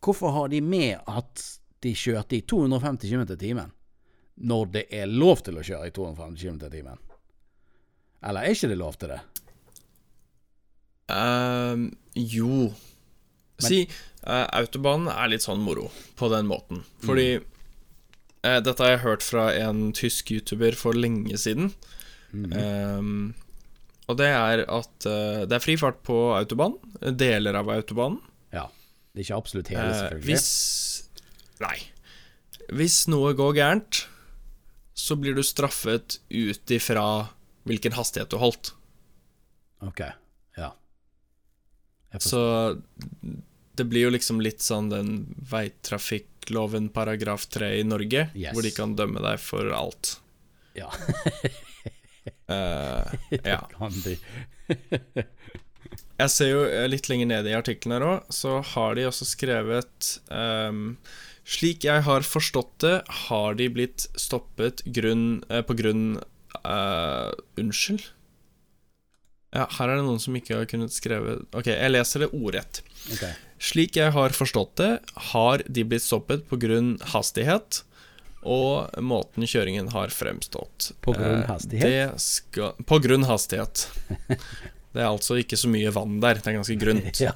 Speaker 2: Hvorfor har de med at de kjørte i 250 km i timen? Når det er lov til å kjøre i 250 km i timen? Eller er ikke det lov til det?
Speaker 1: Ehm, jo Si, eh, autobanen er litt sånn moro på den måten. Fordi eh, dette har jeg hørt fra en tysk YouTuber for lenge siden. Ehm, og det er at eh, det er fri fart på autobanen. Deler av autobanen.
Speaker 2: Ja. Det er ikke absolutt hele,
Speaker 1: Eh,
Speaker 2: selvfølgelig.
Speaker 1: hvis Nei. Hvis noe går gærent, så blir du straffet ut ifra hvilken hastighet du holdt.
Speaker 2: Ok. Ja.
Speaker 1: Så det blir jo liksom litt sånn den veitrafikkloven paragraf 3 i Norge,
Speaker 2: Yes.
Speaker 1: hvor de kan dømme deg for alt.
Speaker 2: Ja.
Speaker 1: Eh, ja.
Speaker 2: Kan de
Speaker 1: Jeg ser jo eh, litt lenger nede i artikkelen her òg, så har de også skrevet ehm, Slik jeg har forstått det, har de blitt stoppet grunn, eh, på grunn eh, Unnskyld? Ja, her er det noen som ikke har kunnet skrevet Ok, jeg leser det ordrett.
Speaker 2: Ok.
Speaker 1: Slik jeg har forstått det, har de blitt stoppet pga. hastighet og måten kjøringen har fremstått.
Speaker 2: På grunn
Speaker 1: Eh,
Speaker 2: hastighet?
Speaker 1: Det skal, på grunn hastighet. Det er altså ikke så mye vann der, det er ganske grunt.
Speaker 2: Ja.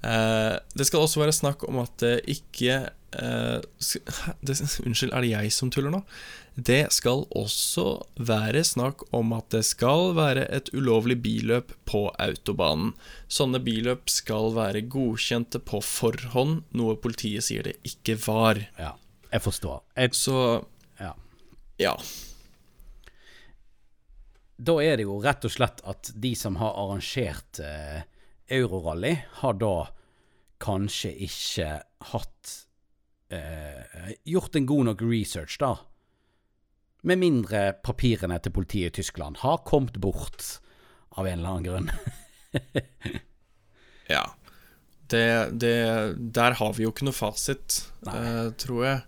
Speaker 1: Eh, det skal også være snakk om at det ikke eh, sk- hæ? det, Unnskyld, er det jeg som tuller nå? Det skal også være snakk om at det skal være et ulovlig billøp på autobanen. Sånne billøp skal være godkjente på forhånd, noe politiet sier det ikke var.
Speaker 2: ja. Jeg forstår. Jeg,
Speaker 1: Så
Speaker 2: ja.
Speaker 1: ja.
Speaker 2: Da er det jo rett og slett at de som har arrangert eh, Eurorally, har da kanskje ikke hatt eh, Gjort en god nok research, da. Med mindre papirene til politiet i Tyskland har kommet bort av en eller annen grunn.
Speaker 1: ja. Det, det, der har vi jo ikke noe fasit,
Speaker 2: Nei.
Speaker 1: eh, tror jeg.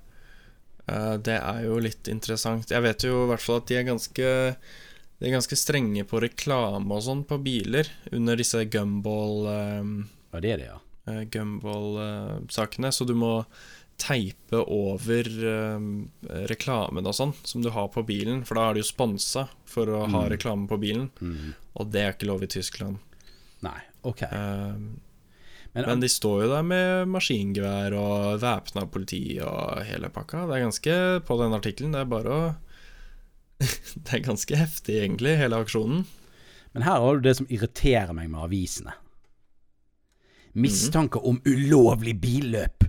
Speaker 1: Eh, det er jo litt interessant. Jeg vet jo i hvert fall at de er ganske De er ganske strenge på reklame og sånn på biler under disse gumball eh,
Speaker 2: Ja, det er det, ja.
Speaker 1: eh, Gumball-sakene, så du må teipe over eh, reklamen og sånn som du har på bilen, for da er du jo sponsa for å ha reklame på bilen, og det er ikke lov i Tyskland.
Speaker 2: Mm. Nei, OK.
Speaker 1: Eh,
Speaker 2: Men,
Speaker 1: men de står jo der med maskingevær og væpna politi og hele pakka. Det er ganske På den artikkelen, det er bare å Det er ganske heftig, egentlig, hele aksjonen.
Speaker 2: men her har du det som irriterer meg med avisene. Mistanke om ulovlig billøp.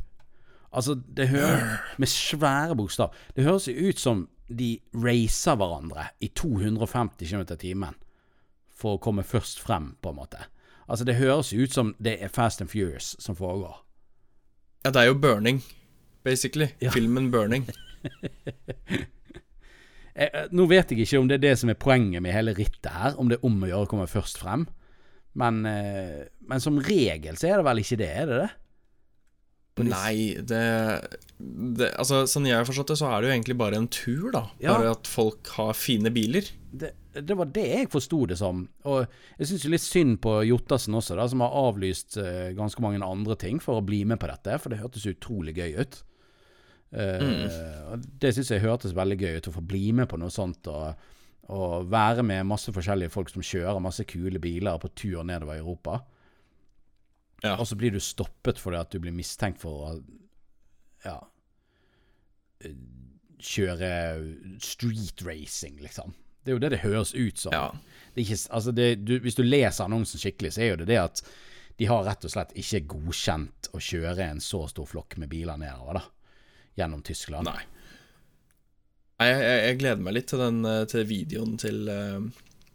Speaker 2: Altså, det hører Med svære bokstav. Det høres jo ut som de racer hverandre i 250 km i timen for å komme først frem, på en måte. Altså, det høres jo ut som det er Fast and Furious som foregår.
Speaker 1: Ja, det er jo burning, basically. Filmen burning.
Speaker 2: Eh, eh, nå vet jeg ikke om det er det som er poenget med hele rittet her, om det er om å gjøre å komme først frem. Men, eh, men som regel så er det vel ikke det, er det det?
Speaker 1: Nei, det, det Altså, sånn jeg har forstått det, så er det jo egentlig bare en tur, da.
Speaker 2: Ja.
Speaker 1: Bare at folk har fine biler.
Speaker 2: det, det var det jeg forsto det som. Og jeg syns litt synd på Jottassen også, da, som har avlyst eh, ganske mange andre ting for å bli med på dette, for det hørtes utrolig gøy ut. Eh, og Det syns jeg hørtes veldig gøy ut, å få bli med på noe sånt. og og være med masse forskjellige folk som kjører masse kule biler på tur nedover i Europa.
Speaker 1: Ja.
Speaker 2: Og så blir du stoppet fordi at du blir mistenkt for å ja, eh, kjøre street racing, liksom. Det er jo det det høres ut som.
Speaker 1: Ja.
Speaker 2: Det er ikke, altså det, du, hvis du leser annonsen skikkelig, så er jo det det at de har rett og slett ikke godkjent å kjøre en så stor flokk med biler nedover, da. Gjennom Tyskland.
Speaker 1: Nei. Nei, Jeg, jeg, jeg gleder meg litt til, den, eh, til videoen til eh,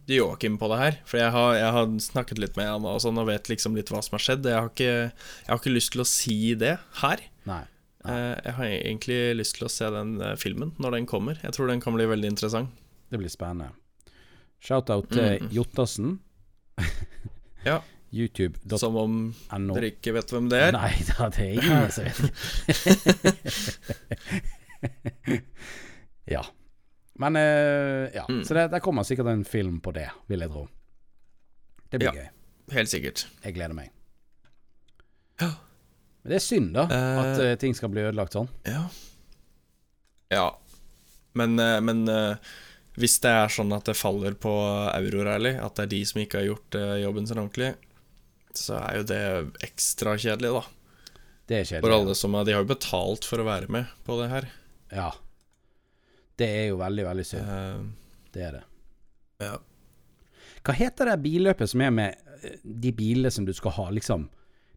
Speaker 1: til Joakim på det her. For jeg har, jeg har snakket litt med han og, sånn, og vet liksom litt hva som har skjedd. Jeg har ikke, jeg har ikke lyst til å si det her.
Speaker 2: Nei.
Speaker 1: Eh, Jeg har egentlig lyst til å se den eh, filmen når den kommer. Jeg tror den kan bli veldig interessant.
Speaker 2: Det blir spennende. Shout-out til Jottassen.
Speaker 1: Mm. Ja.
Speaker 2: YouTube.no.
Speaker 1: Som om dere ikke vet hvem det er.
Speaker 2: Nei, da, det er ingen som vet ikke. Ja. Men eh, ja.
Speaker 1: Mm.
Speaker 2: Så det, der kommer sikkert en film på det, vil jeg tro. Det blir
Speaker 1: Ja.
Speaker 2: gøy.
Speaker 1: Helt sikkert.
Speaker 2: Jeg gleder meg.
Speaker 1: Ja.
Speaker 2: Men det er synd, da,
Speaker 1: Eh.
Speaker 2: at eh, ting skal bli ødelagt sånn.
Speaker 1: Ja. ja. Men, eh, men eh, hvis det er sånn at det faller på Euro-rally, at det er de som ikke har gjort eh, jobben sin ordentlig, så er jo det ekstra kjedelig, da.
Speaker 2: Det er
Speaker 1: For
Speaker 2: kjedelig.
Speaker 1: alle som er, De har jo betalt for å være med på det her.
Speaker 2: Ja. Det er jo veldig, veldig synd.
Speaker 1: Eh,
Speaker 2: Det er det.
Speaker 1: ja.
Speaker 2: Hva heter det billøpet som er med eh, de bilene som du skal ha, liksom?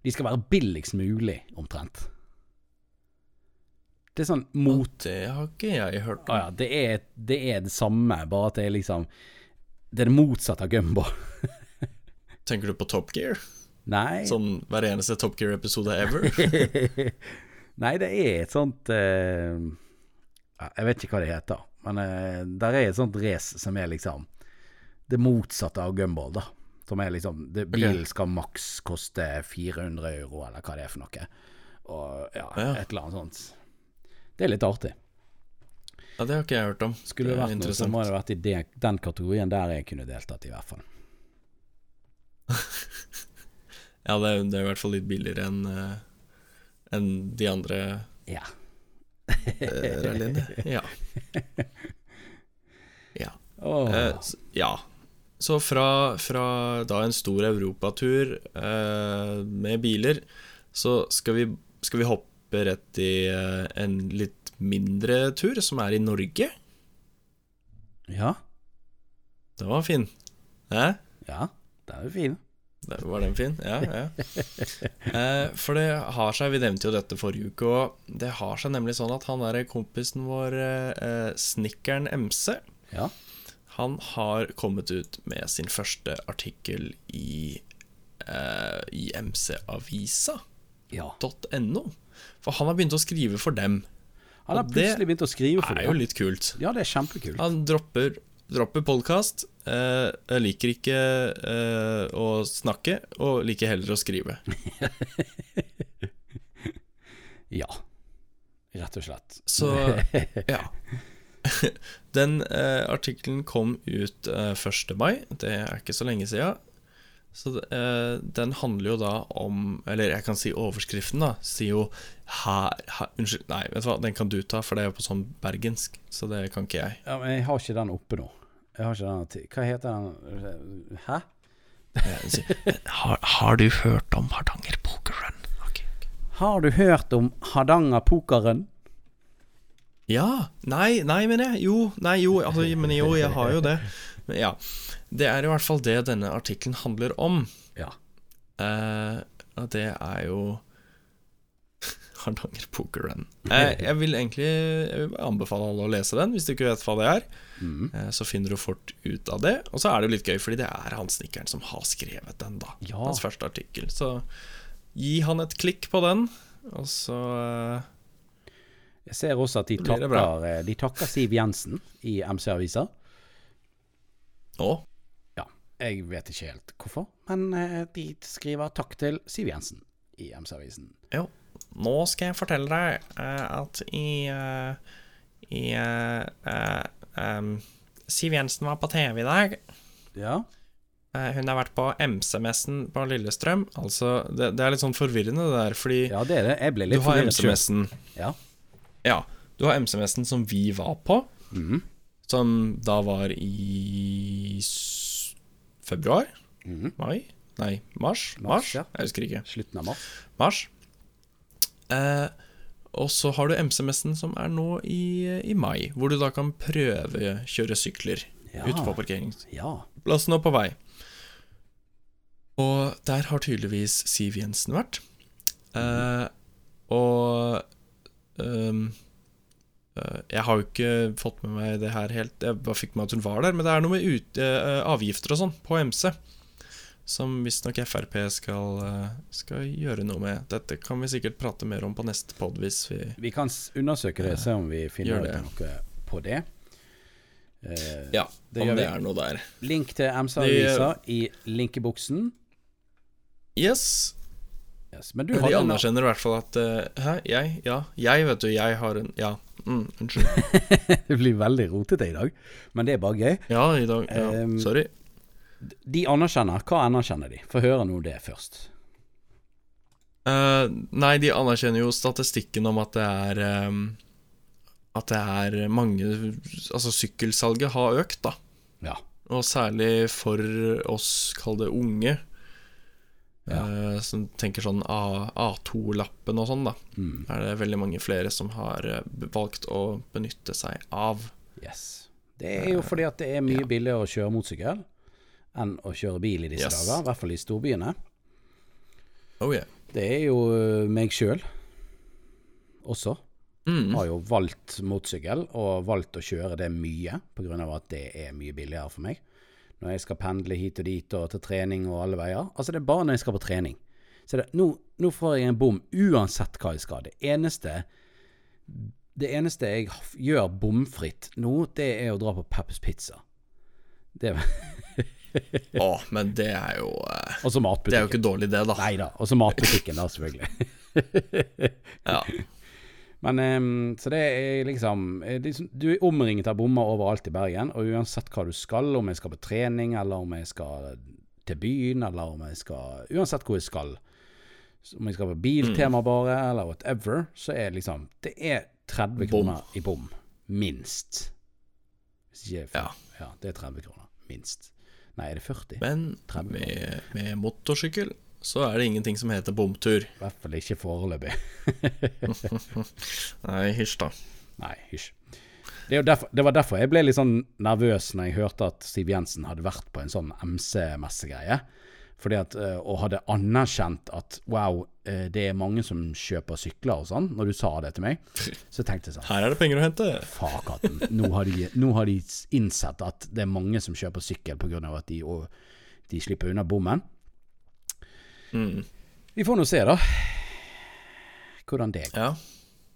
Speaker 2: De skal være billigst mulig, omtrent. Det er sånn mot...
Speaker 1: Det har ikke jeg hørt
Speaker 2: Å
Speaker 1: om.
Speaker 2: ja, det er, det er det samme, bare at det er liksom Det er det motsatte av gumbo.
Speaker 1: Tenker du på Top Gear?
Speaker 2: Nei.
Speaker 1: Sånn hver eneste Top Gear-episode ever?
Speaker 2: Nei, det er et sånt eh, ja, Jeg vet ikke hva det heter, men eh, der er et sånt race som er liksom det motsatte av gumball, da. Som er liksom det, Bilen skal maks koste 400 euro, eller hva det er for noe. Og ja,
Speaker 1: Ja.
Speaker 2: et eller annet sånt. Det er litt artig.
Speaker 1: Ja, Det har ikke jeg hørt om.
Speaker 2: Skulle det
Speaker 1: er
Speaker 2: vært noe, så
Speaker 1: interessant.
Speaker 2: må det vært i de, den kategorien der jeg kunne deltatt, i hvert fall.
Speaker 1: Ja, det er, det er i hvert fall litt billigere enn eh, enn de andre
Speaker 2: Ja.
Speaker 1: eh, rallyene. Ja. ja.
Speaker 2: Åh.
Speaker 1: Eh, s- ja. Så fra, fra da en stor europatur eh, med biler, så skal vi, skal vi hoppe rett i eh, en litt mindre tur, som er i Norge.
Speaker 2: ja.
Speaker 1: Den var fin. Hæ?
Speaker 2: Ja. Den er jo fin.
Speaker 1: Der var den fin? Ja, ja. Eh, for det har seg, vi nevnte jo dette forrige uke òg, det har seg nemlig sånn at han derre kompisen vår, eh, eh, snekkeren MC,
Speaker 2: Ja.
Speaker 1: han har kommet ut med sin første artikkel i, eh, i mcavisa.no.
Speaker 2: ja.
Speaker 1: For han har begynt å skrive for dem.
Speaker 2: Han har
Speaker 1: Og det
Speaker 2: plutselig begynt å skrive for
Speaker 1: Det er jo
Speaker 2: det.
Speaker 1: litt kult.
Speaker 2: Ja, det er kjempekult.
Speaker 1: Han dropper, dropper podkast. Eh, jeg liker ikke eh, å snakke, og liker heller å skrive.
Speaker 2: Ja. Rett og slett.
Speaker 1: Så ja. Den eh, artikkelen kom ut eh, 1. mai, det er ikke så lenge siden. Så eh, den handler jo da om Eller jeg kan si overskriften, da. Sier jo her, her Unnskyld, nei, vet du hva, den kan du ta, for det er jo på sånn bergensk, så det kan ikke jeg.
Speaker 2: Ja, men jeg har ikke den oppe nå. Jeg har ikke den arti- Hva heter den Hæ?
Speaker 1: eh, Har, du hørt om Hardanger Poker Run?
Speaker 2: Har du hørt om Hardanger-pokeren?
Speaker 1: Ja. Nei, nei, mener jeg. Jo, nei, jo, altså, men jo, jeg har jo det. Men ja. Det er i hvert fall det denne artikkelen handler om.
Speaker 2: Ja.
Speaker 1: Eh, og det er jo Hardanger Poker Run. Eh, jeg vil egentlig jeg vil bare anbefale alle å lese den, hvis du ikke vet hva det er.
Speaker 2: Mhm.
Speaker 1: Eh, så finner du fort ut av det. Og så er det jo litt gøy, fordi det er han snekkeren som har skrevet den, da.
Speaker 2: Ja.
Speaker 1: Hans første artikkel. Så gi han et klikk på den, og så eh,
Speaker 2: Jeg ser også at de
Speaker 1: blir det
Speaker 2: takker, eh, de takker Siv Jensen i MC-avisa.
Speaker 1: Å,
Speaker 2: Ja, jeg vet ikke helt hvorfor, men eh, de skriver takk til Siv Jensen i MC-avisen.
Speaker 1: jo. Nå skal jeg fortelle deg eh, at i eh, i eh, eh, em, Siv Jensen var på TV i dag.
Speaker 2: Ja.
Speaker 1: Eh, Hun har vært på MC-messen på Lillestrøm. Altså, det, det er litt sånn forvirrende det der, fordi
Speaker 2: ja, det er det. Jeg ble
Speaker 1: du
Speaker 2: litt
Speaker 1: har
Speaker 2: forvirret selv.
Speaker 1: MC-messen
Speaker 2: Ja.
Speaker 1: Ja, du har MC-messen som vi var på,
Speaker 2: Mhm.
Speaker 1: som da var i s- februar?
Speaker 2: Mhm.
Speaker 1: Mai? Nei, mars?
Speaker 2: Mars,
Speaker 1: Mars?
Speaker 2: ja.
Speaker 1: Jeg husker ikke.
Speaker 2: Slutten av mars.
Speaker 1: Mars. Eh, og så har du MC-messen som er nå i, i mai, hvor du da kan prøvekjøre sykler
Speaker 2: Ja.
Speaker 1: ute på parkerings...
Speaker 2: Ja.
Speaker 1: Plassen er på vei. Og der har tydeligvis Siv Jensen vært. Eh, og ehm, eh, Jeg har jo ikke fått med meg det her helt. Jeg bare fikk med at hun var der. Men det er noe med ut, eh, avgifter og sånn på MC. Som visstnok Frp skal, eh, skal gjøre noe med. Dette kan vi sikkert prate mer om på neste pod hvis vi
Speaker 2: Vi kan s- undersøke det, se om vi finner
Speaker 1: gjør
Speaker 2: ut noe på det. Eh,
Speaker 1: Ja,
Speaker 2: det
Speaker 1: om
Speaker 2: gjør
Speaker 1: det
Speaker 2: vi.
Speaker 1: er noe der.
Speaker 2: Link til MC-avisa i linkebuksen.
Speaker 1: Yes.
Speaker 2: Yes, men du
Speaker 1: De
Speaker 2: hadde en
Speaker 1: anerkjenner i hvert fall at eh, Hæ, jeg? Ja. Jeg, vet du, jeg har en Ja. Mm, unnskyld.
Speaker 2: Det blir veldig rotete i dag, men det er bare gøy.
Speaker 1: Ja, i dag. Ja.
Speaker 2: Ehm,
Speaker 1: Sorry.
Speaker 2: De anerkjenner. Hva anerkjenner de? Få høre nå det først.
Speaker 1: Eh, nei, de anerkjenner jo statistikken om at det er ehm, At det er mange Altså, sykkelsalget har økt, da.
Speaker 2: Ja.
Speaker 1: Og særlig for oss, kall det unge, eh, som tenker sånn A- A2-lappen og sånn, da.
Speaker 2: Mm.
Speaker 1: Er det veldig mange flere som har eh, valgt å benytte seg av.
Speaker 2: Yes. Det er jo fordi at det er mye billigere å kjøre motorsykkel enn å kjøre bil i disse
Speaker 1: Yes.
Speaker 2: dager. I hvert fall i storbyene.
Speaker 1: Oh yeah.
Speaker 2: Det er jo øh, meg sjøl også.
Speaker 1: Mm.
Speaker 2: Har jo valgt motorsykkel, og valgt å kjøre det mye pga. at det er mye billigere for meg. Når jeg skal pendle hit og dit og til trening og alle veier. Altså, det er bare når jeg skal på trening. Så det, nå, nå får jeg en bom uansett hva jeg skal. Det eneste, det eneste jeg f- gjør bomfritt nå, det er å dra på Peppers Pizza. Det,
Speaker 1: Å, men det er jo eh,
Speaker 2: og
Speaker 1: Det er jo
Speaker 2: så matbutikken.
Speaker 1: ikke dårlig, det, da.
Speaker 2: Nei da. Og så matbutikken, da, selvfølgelig.
Speaker 1: Ja.
Speaker 2: Men em, så det er liksom eh, liksom, Du er omringet av bommer overalt i Bergen, og uansett hva du skal, om jeg skal på trening, eller om jeg skal til byen, eller om jeg skal Uansett hvor jeg skal, så om jeg skal på
Speaker 1: Mm.
Speaker 2: Biltema bare, eller whatever, så er liksom Det er 30
Speaker 1: Bom.
Speaker 2: kroner i bom. Minst. Hvis ikke
Speaker 1: Ja.
Speaker 2: ja. Det er 30 kroner. Minst. Nei, er det 40?
Speaker 1: Men
Speaker 2: 30 kroner.
Speaker 1: med, med motorsykkel så er det ingenting som heter bomtur.
Speaker 2: I hvert fall ikke foreløpig.
Speaker 1: Nei, hysj, da.
Speaker 2: Nei, hysj. Det, er jo derfor, det var derfor jeg ble litt sånn nervøs når jeg hørte at Siv Jensen hadde vært på en sånn MC-messegreie. Fordi at, eh, Og hadde anerkjent at wow, eh, det er mange som kjøper sykler og sånn. Når du sa det til meg, så tenkte jeg sånn
Speaker 1: Her er det penger å hente.
Speaker 2: Fakatten. Nå, har de- nå har de innsett at det er mange som kjøper sykkel pga. at de, og, de slipper unna bommen.
Speaker 1: Mm.
Speaker 2: Vi får nå se, da. Hvordan det går.
Speaker 1: Ja.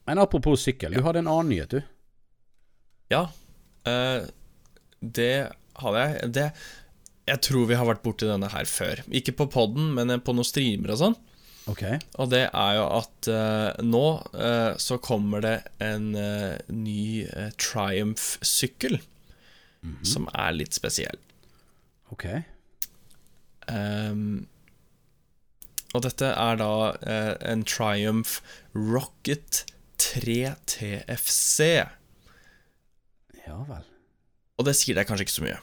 Speaker 2: Men apropos sykkel, du hadde en annen nyhet, du.
Speaker 1: Ja, eh, det hadde jeg. Det, jeg tror vi har vært borti denne her før. Ikke på poden, men på noen streamer og sånn.
Speaker 2: Ok.
Speaker 1: Og det er jo at eh, nå eh, så kommer det en eh, ny eh, Triumph-sykkel som er litt spesiell.
Speaker 2: Ok.
Speaker 1: Ehm, og dette er da eh, en Triumph Rocket 3 TFC.
Speaker 2: Ja vel.
Speaker 1: Og det sier deg kanskje ikke så mye.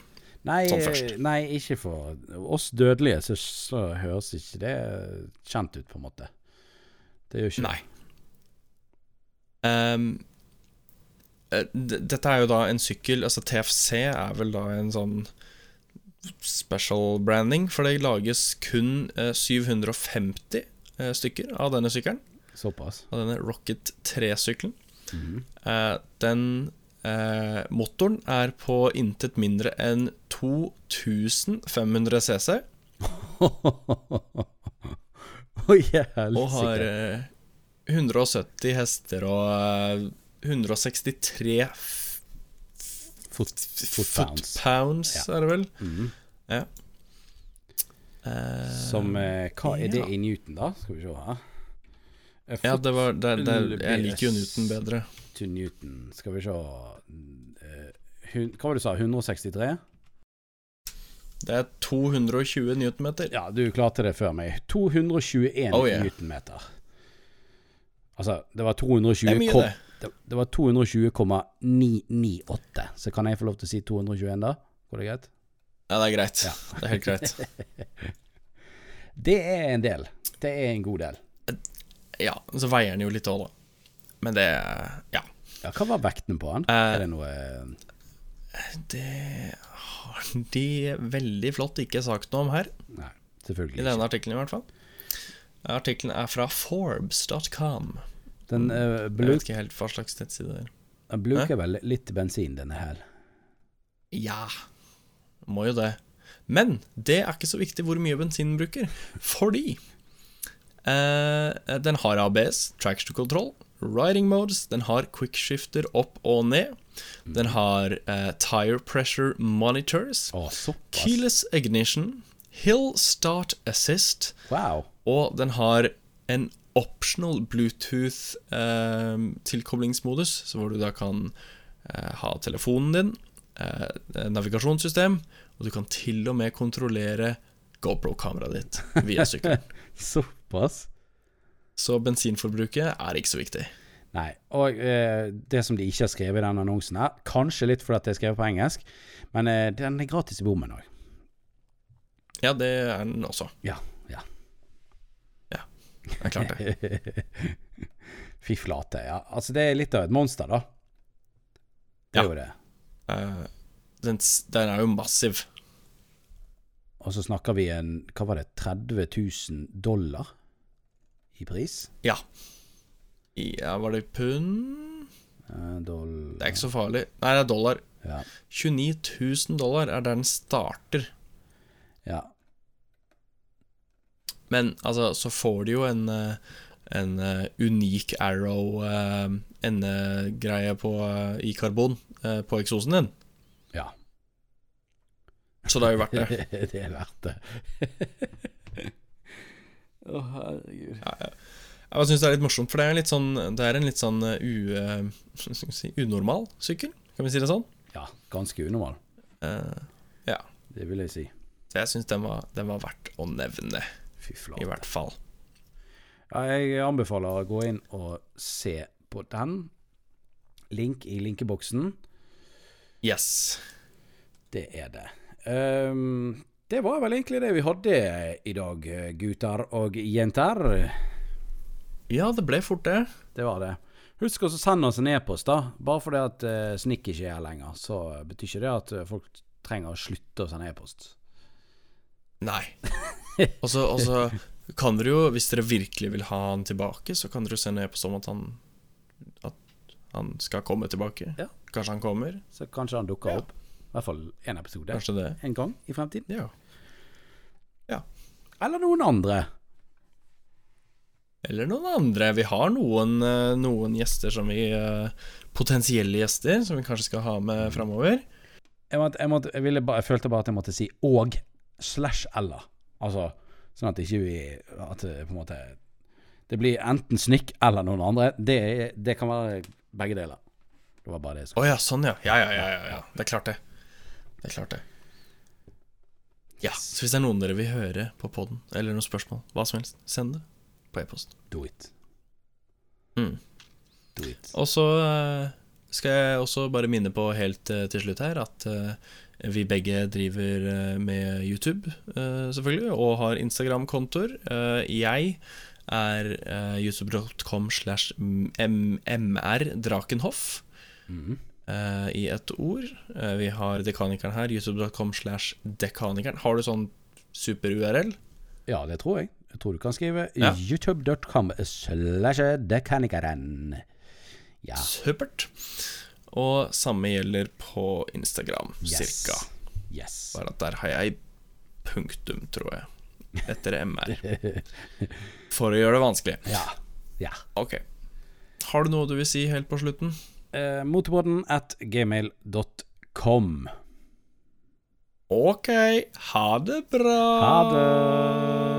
Speaker 2: Nei,
Speaker 1: Sånn først.
Speaker 2: nei, ikke for oss dødelige, så, så høres ikke det kjent ut, på en måte. Det gjør ikke det.
Speaker 1: Nei. Ehm, eh, d- dette er jo da en sykkel Altså TFC er vel da en sånn special branding, for det lages kun eh, 750 eh, stykker av denne sykkelen.
Speaker 2: Såpass.
Speaker 1: Av denne Rocket 3-sykkelen.
Speaker 2: Mhm.
Speaker 1: Eh, den eh, motoren er på intet mindre enn 2500 cc
Speaker 2: Oi, helsike.
Speaker 1: og har eh, 170 hester og eh, 163 f- eh,
Speaker 2: Fot,
Speaker 1: Footpounds,
Speaker 2: footpounds.
Speaker 1: er det vel.
Speaker 2: Mhm.
Speaker 1: Ja. Eh,
Speaker 2: Som eh, Hva er det
Speaker 1: ja.
Speaker 2: i Newton, da? Skal vi se her. Eh,
Speaker 1: Ja,
Speaker 2: foot
Speaker 1: det var det, det, Jeg liker jo
Speaker 2: LBS.
Speaker 1: Newton bedre.
Speaker 2: to Newton. Skal vi se Eh, hun, Hva var det du sa? 163?
Speaker 1: Det er 220 newtonmeter.
Speaker 2: Ja, du klarte det før meg. 221
Speaker 1: Oh, yeah.
Speaker 2: newtonmeter. Altså, det var 220
Speaker 1: Det er mye,
Speaker 2: kom-
Speaker 1: det.
Speaker 2: det. det var 220,998. Så kan jeg få lov til å si 221, da? Går det greit?
Speaker 1: Ja, det er greit.
Speaker 2: Ja.
Speaker 1: Det er helt greit.
Speaker 2: Det er en del. Det er en god del.
Speaker 1: Ja, så veier den jo litt òg, da. Men det Ja.
Speaker 2: Ja, hva var vekten på han?
Speaker 1: Eh,
Speaker 2: er det noe
Speaker 1: Det har de veldig flott ikke sagt noe om her,
Speaker 2: Nei,
Speaker 1: i
Speaker 2: selvfølgelig ikke.
Speaker 1: denne artikkelen i hvert fall. Artikkelen er fra Forbes.com.
Speaker 2: Den eh,
Speaker 1: Jeg
Speaker 2: blu-
Speaker 1: vet ikke helt hva slags nettside det er.
Speaker 2: den bluker vel litt bensin, denne her.
Speaker 1: Ja, må jo det. Men det er ikke så viktig hvor mye bensin den bruker, fordi eh, den har ABS, traction control, riding modes, den har quickshifter opp og ned, den har eh, tire pressure monitors,
Speaker 2: Å, såpass.
Speaker 1: keyless ignition, Hill Start Assist,
Speaker 2: Wow.
Speaker 1: og den har en optional Bluetooth-tilkoblingsmodus, så hvor du da kan eh, ha telefonen din, eh, navigasjonssystem, og du kan til og med kontrollere GoPro-kameraet ditt via sykkelen.
Speaker 2: Såpass?
Speaker 1: Så bensinforbruket er ikke så viktig.
Speaker 2: Nei. Og eh, det som de ikke har skrevet i den annonsen her, kanskje litt fordi at det er skrevet på engelsk, men eh, den er gratis i bommen òg.
Speaker 1: Ja, det er den også.
Speaker 2: Ja. Ja.
Speaker 1: Ja, det er klart det.
Speaker 2: Fy flate. Ja. Altså, det er litt av et monster, da. Det er
Speaker 1: Ja.
Speaker 2: jo det.
Speaker 1: Eh, den, s- den er jo massiv.
Speaker 2: Og så snakker vi en Hva var det? 30 000 dollar i pris?
Speaker 1: Ja. ja. Var det pund?
Speaker 2: Eh, doll...
Speaker 1: Det er ikke så farlig. Nei, det er dollar.
Speaker 2: Ja.
Speaker 1: 29 000 dollar er der den starter.
Speaker 2: ja.
Speaker 1: Men altså, så får de jo en eh, en eh, unik arrow-endegreie på eh, i karbon eh, på eksosen din.
Speaker 2: Ja.
Speaker 1: Så det har jo vært det.
Speaker 2: det er verdt det. Å, herregud.
Speaker 1: Ja, Jeg synes det er litt morsomt, for det er, litt sånn, det er en litt sånn eh, u, eh, hva skal vi si, unormal sykkel, kan vi si det sånn?
Speaker 2: Ja, ganske unormal,
Speaker 1: Eh,
Speaker 2: det vil jeg si.
Speaker 1: Så jeg syns den, var- den var verdt å nevne,
Speaker 2: Fy
Speaker 1: i
Speaker 2: flate.
Speaker 1: hvert fall.
Speaker 2: Ja, jeg anbefaler å gå inn og se på den. Link i linkeboksen.
Speaker 1: Yes.
Speaker 2: Det er det. Ehm, det var vel egentlig det vi hadde eh, i dag, gutter og jenter.
Speaker 1: Ja, det ble fort det.
Speaker 2: Det var det. Husk også å sende oss en e-post, da. Bare fordi at eh, Snikk ikke er her lenger, så betyr ikke det at eh, folk trenger å slutte å sende e-post.
Speaker 1: Nei. Og så og så kan dere jo, hvis dere virkelig vil ha han tilbake, så kan dere jo sende e-post om at han At han skal komme tilbake.
Speaker 2: Ja.
Speaker 1: Kanskje han kommer.
Speaker 2: Så kanskje han dukker
Speaker 1: Ja.
Speaker 2: opp. I hvert fall én episode.
Speaker 1: Kanskje det.
Speaker 2: En gang i fremtiden.
Speaker 1: Ja.
Speaker 2: Eller noen andre.
Speaker 1: Eller noen andre. Vi har noen, eh, noen gjester som vi eh, Potensielle gjester som vi kanskje skal ha med framover.
Speaker 2: Jeg, måtte, jeg, måtte, jeg, ville bare, jeg følte bare at jeg måtte si og slash eller. Altså sånn at ikke vi At det på en måte Det blir enten Snikk eller noen andre. Det, er- det kan være begge deler. Det var bare det jeg
Speaker 1: Å
Speaker 2: skulle
Speaker 1: ja, sånn ja. Ja, ja, ja, ja, ja. Det er klart det. Det er klart det. Ja, så hvis det er noen dere vil høre på poden, eller noen spørsmål, hva som helst, send det på e-post.
Speaker 2: Do it.
Speaker 1: Mm.
Speaker 2: Do it.
Speaker 1: Og så eh, skal jeg også bare minne på helt eh, til slutt her at eh, vi begge driver eh, med YouTube, eh, selvfølgelig, og har Instagram-kontoer. Eh, Jeg er eh, youtube.com slash mrdrakenhoff.
Speaker 2: Mhm.
Speaker 1: eh, i ett ord. Eh, vi har Dekanikeren her, youtube.com slash Dekanikeren. Har du sånn super-URL?
Speaker 2: Ja, det tror jeg. Jeg tror du kan skrive
Speaker 1: Ja.
Speaker 2: youtube.com slash dekanikeren. Ja.
Speaker 1: Supert. Og samme gjelder på Instagram, cirka.
Speaker 2: Yes.
Speaker 1: Bare at der har jeg punktum, tror jeg. Etter MR. For å gjøre det vanskelig.
Speaker 2: Ja. ja.
Speaker 1: Ok. Har du noe du vil si helt på slutten?
Speaker 2: Eh, Motorbåten at gmail.com.
Speaker 1: Ok, ha det bra.
Speaker 2: Ha det.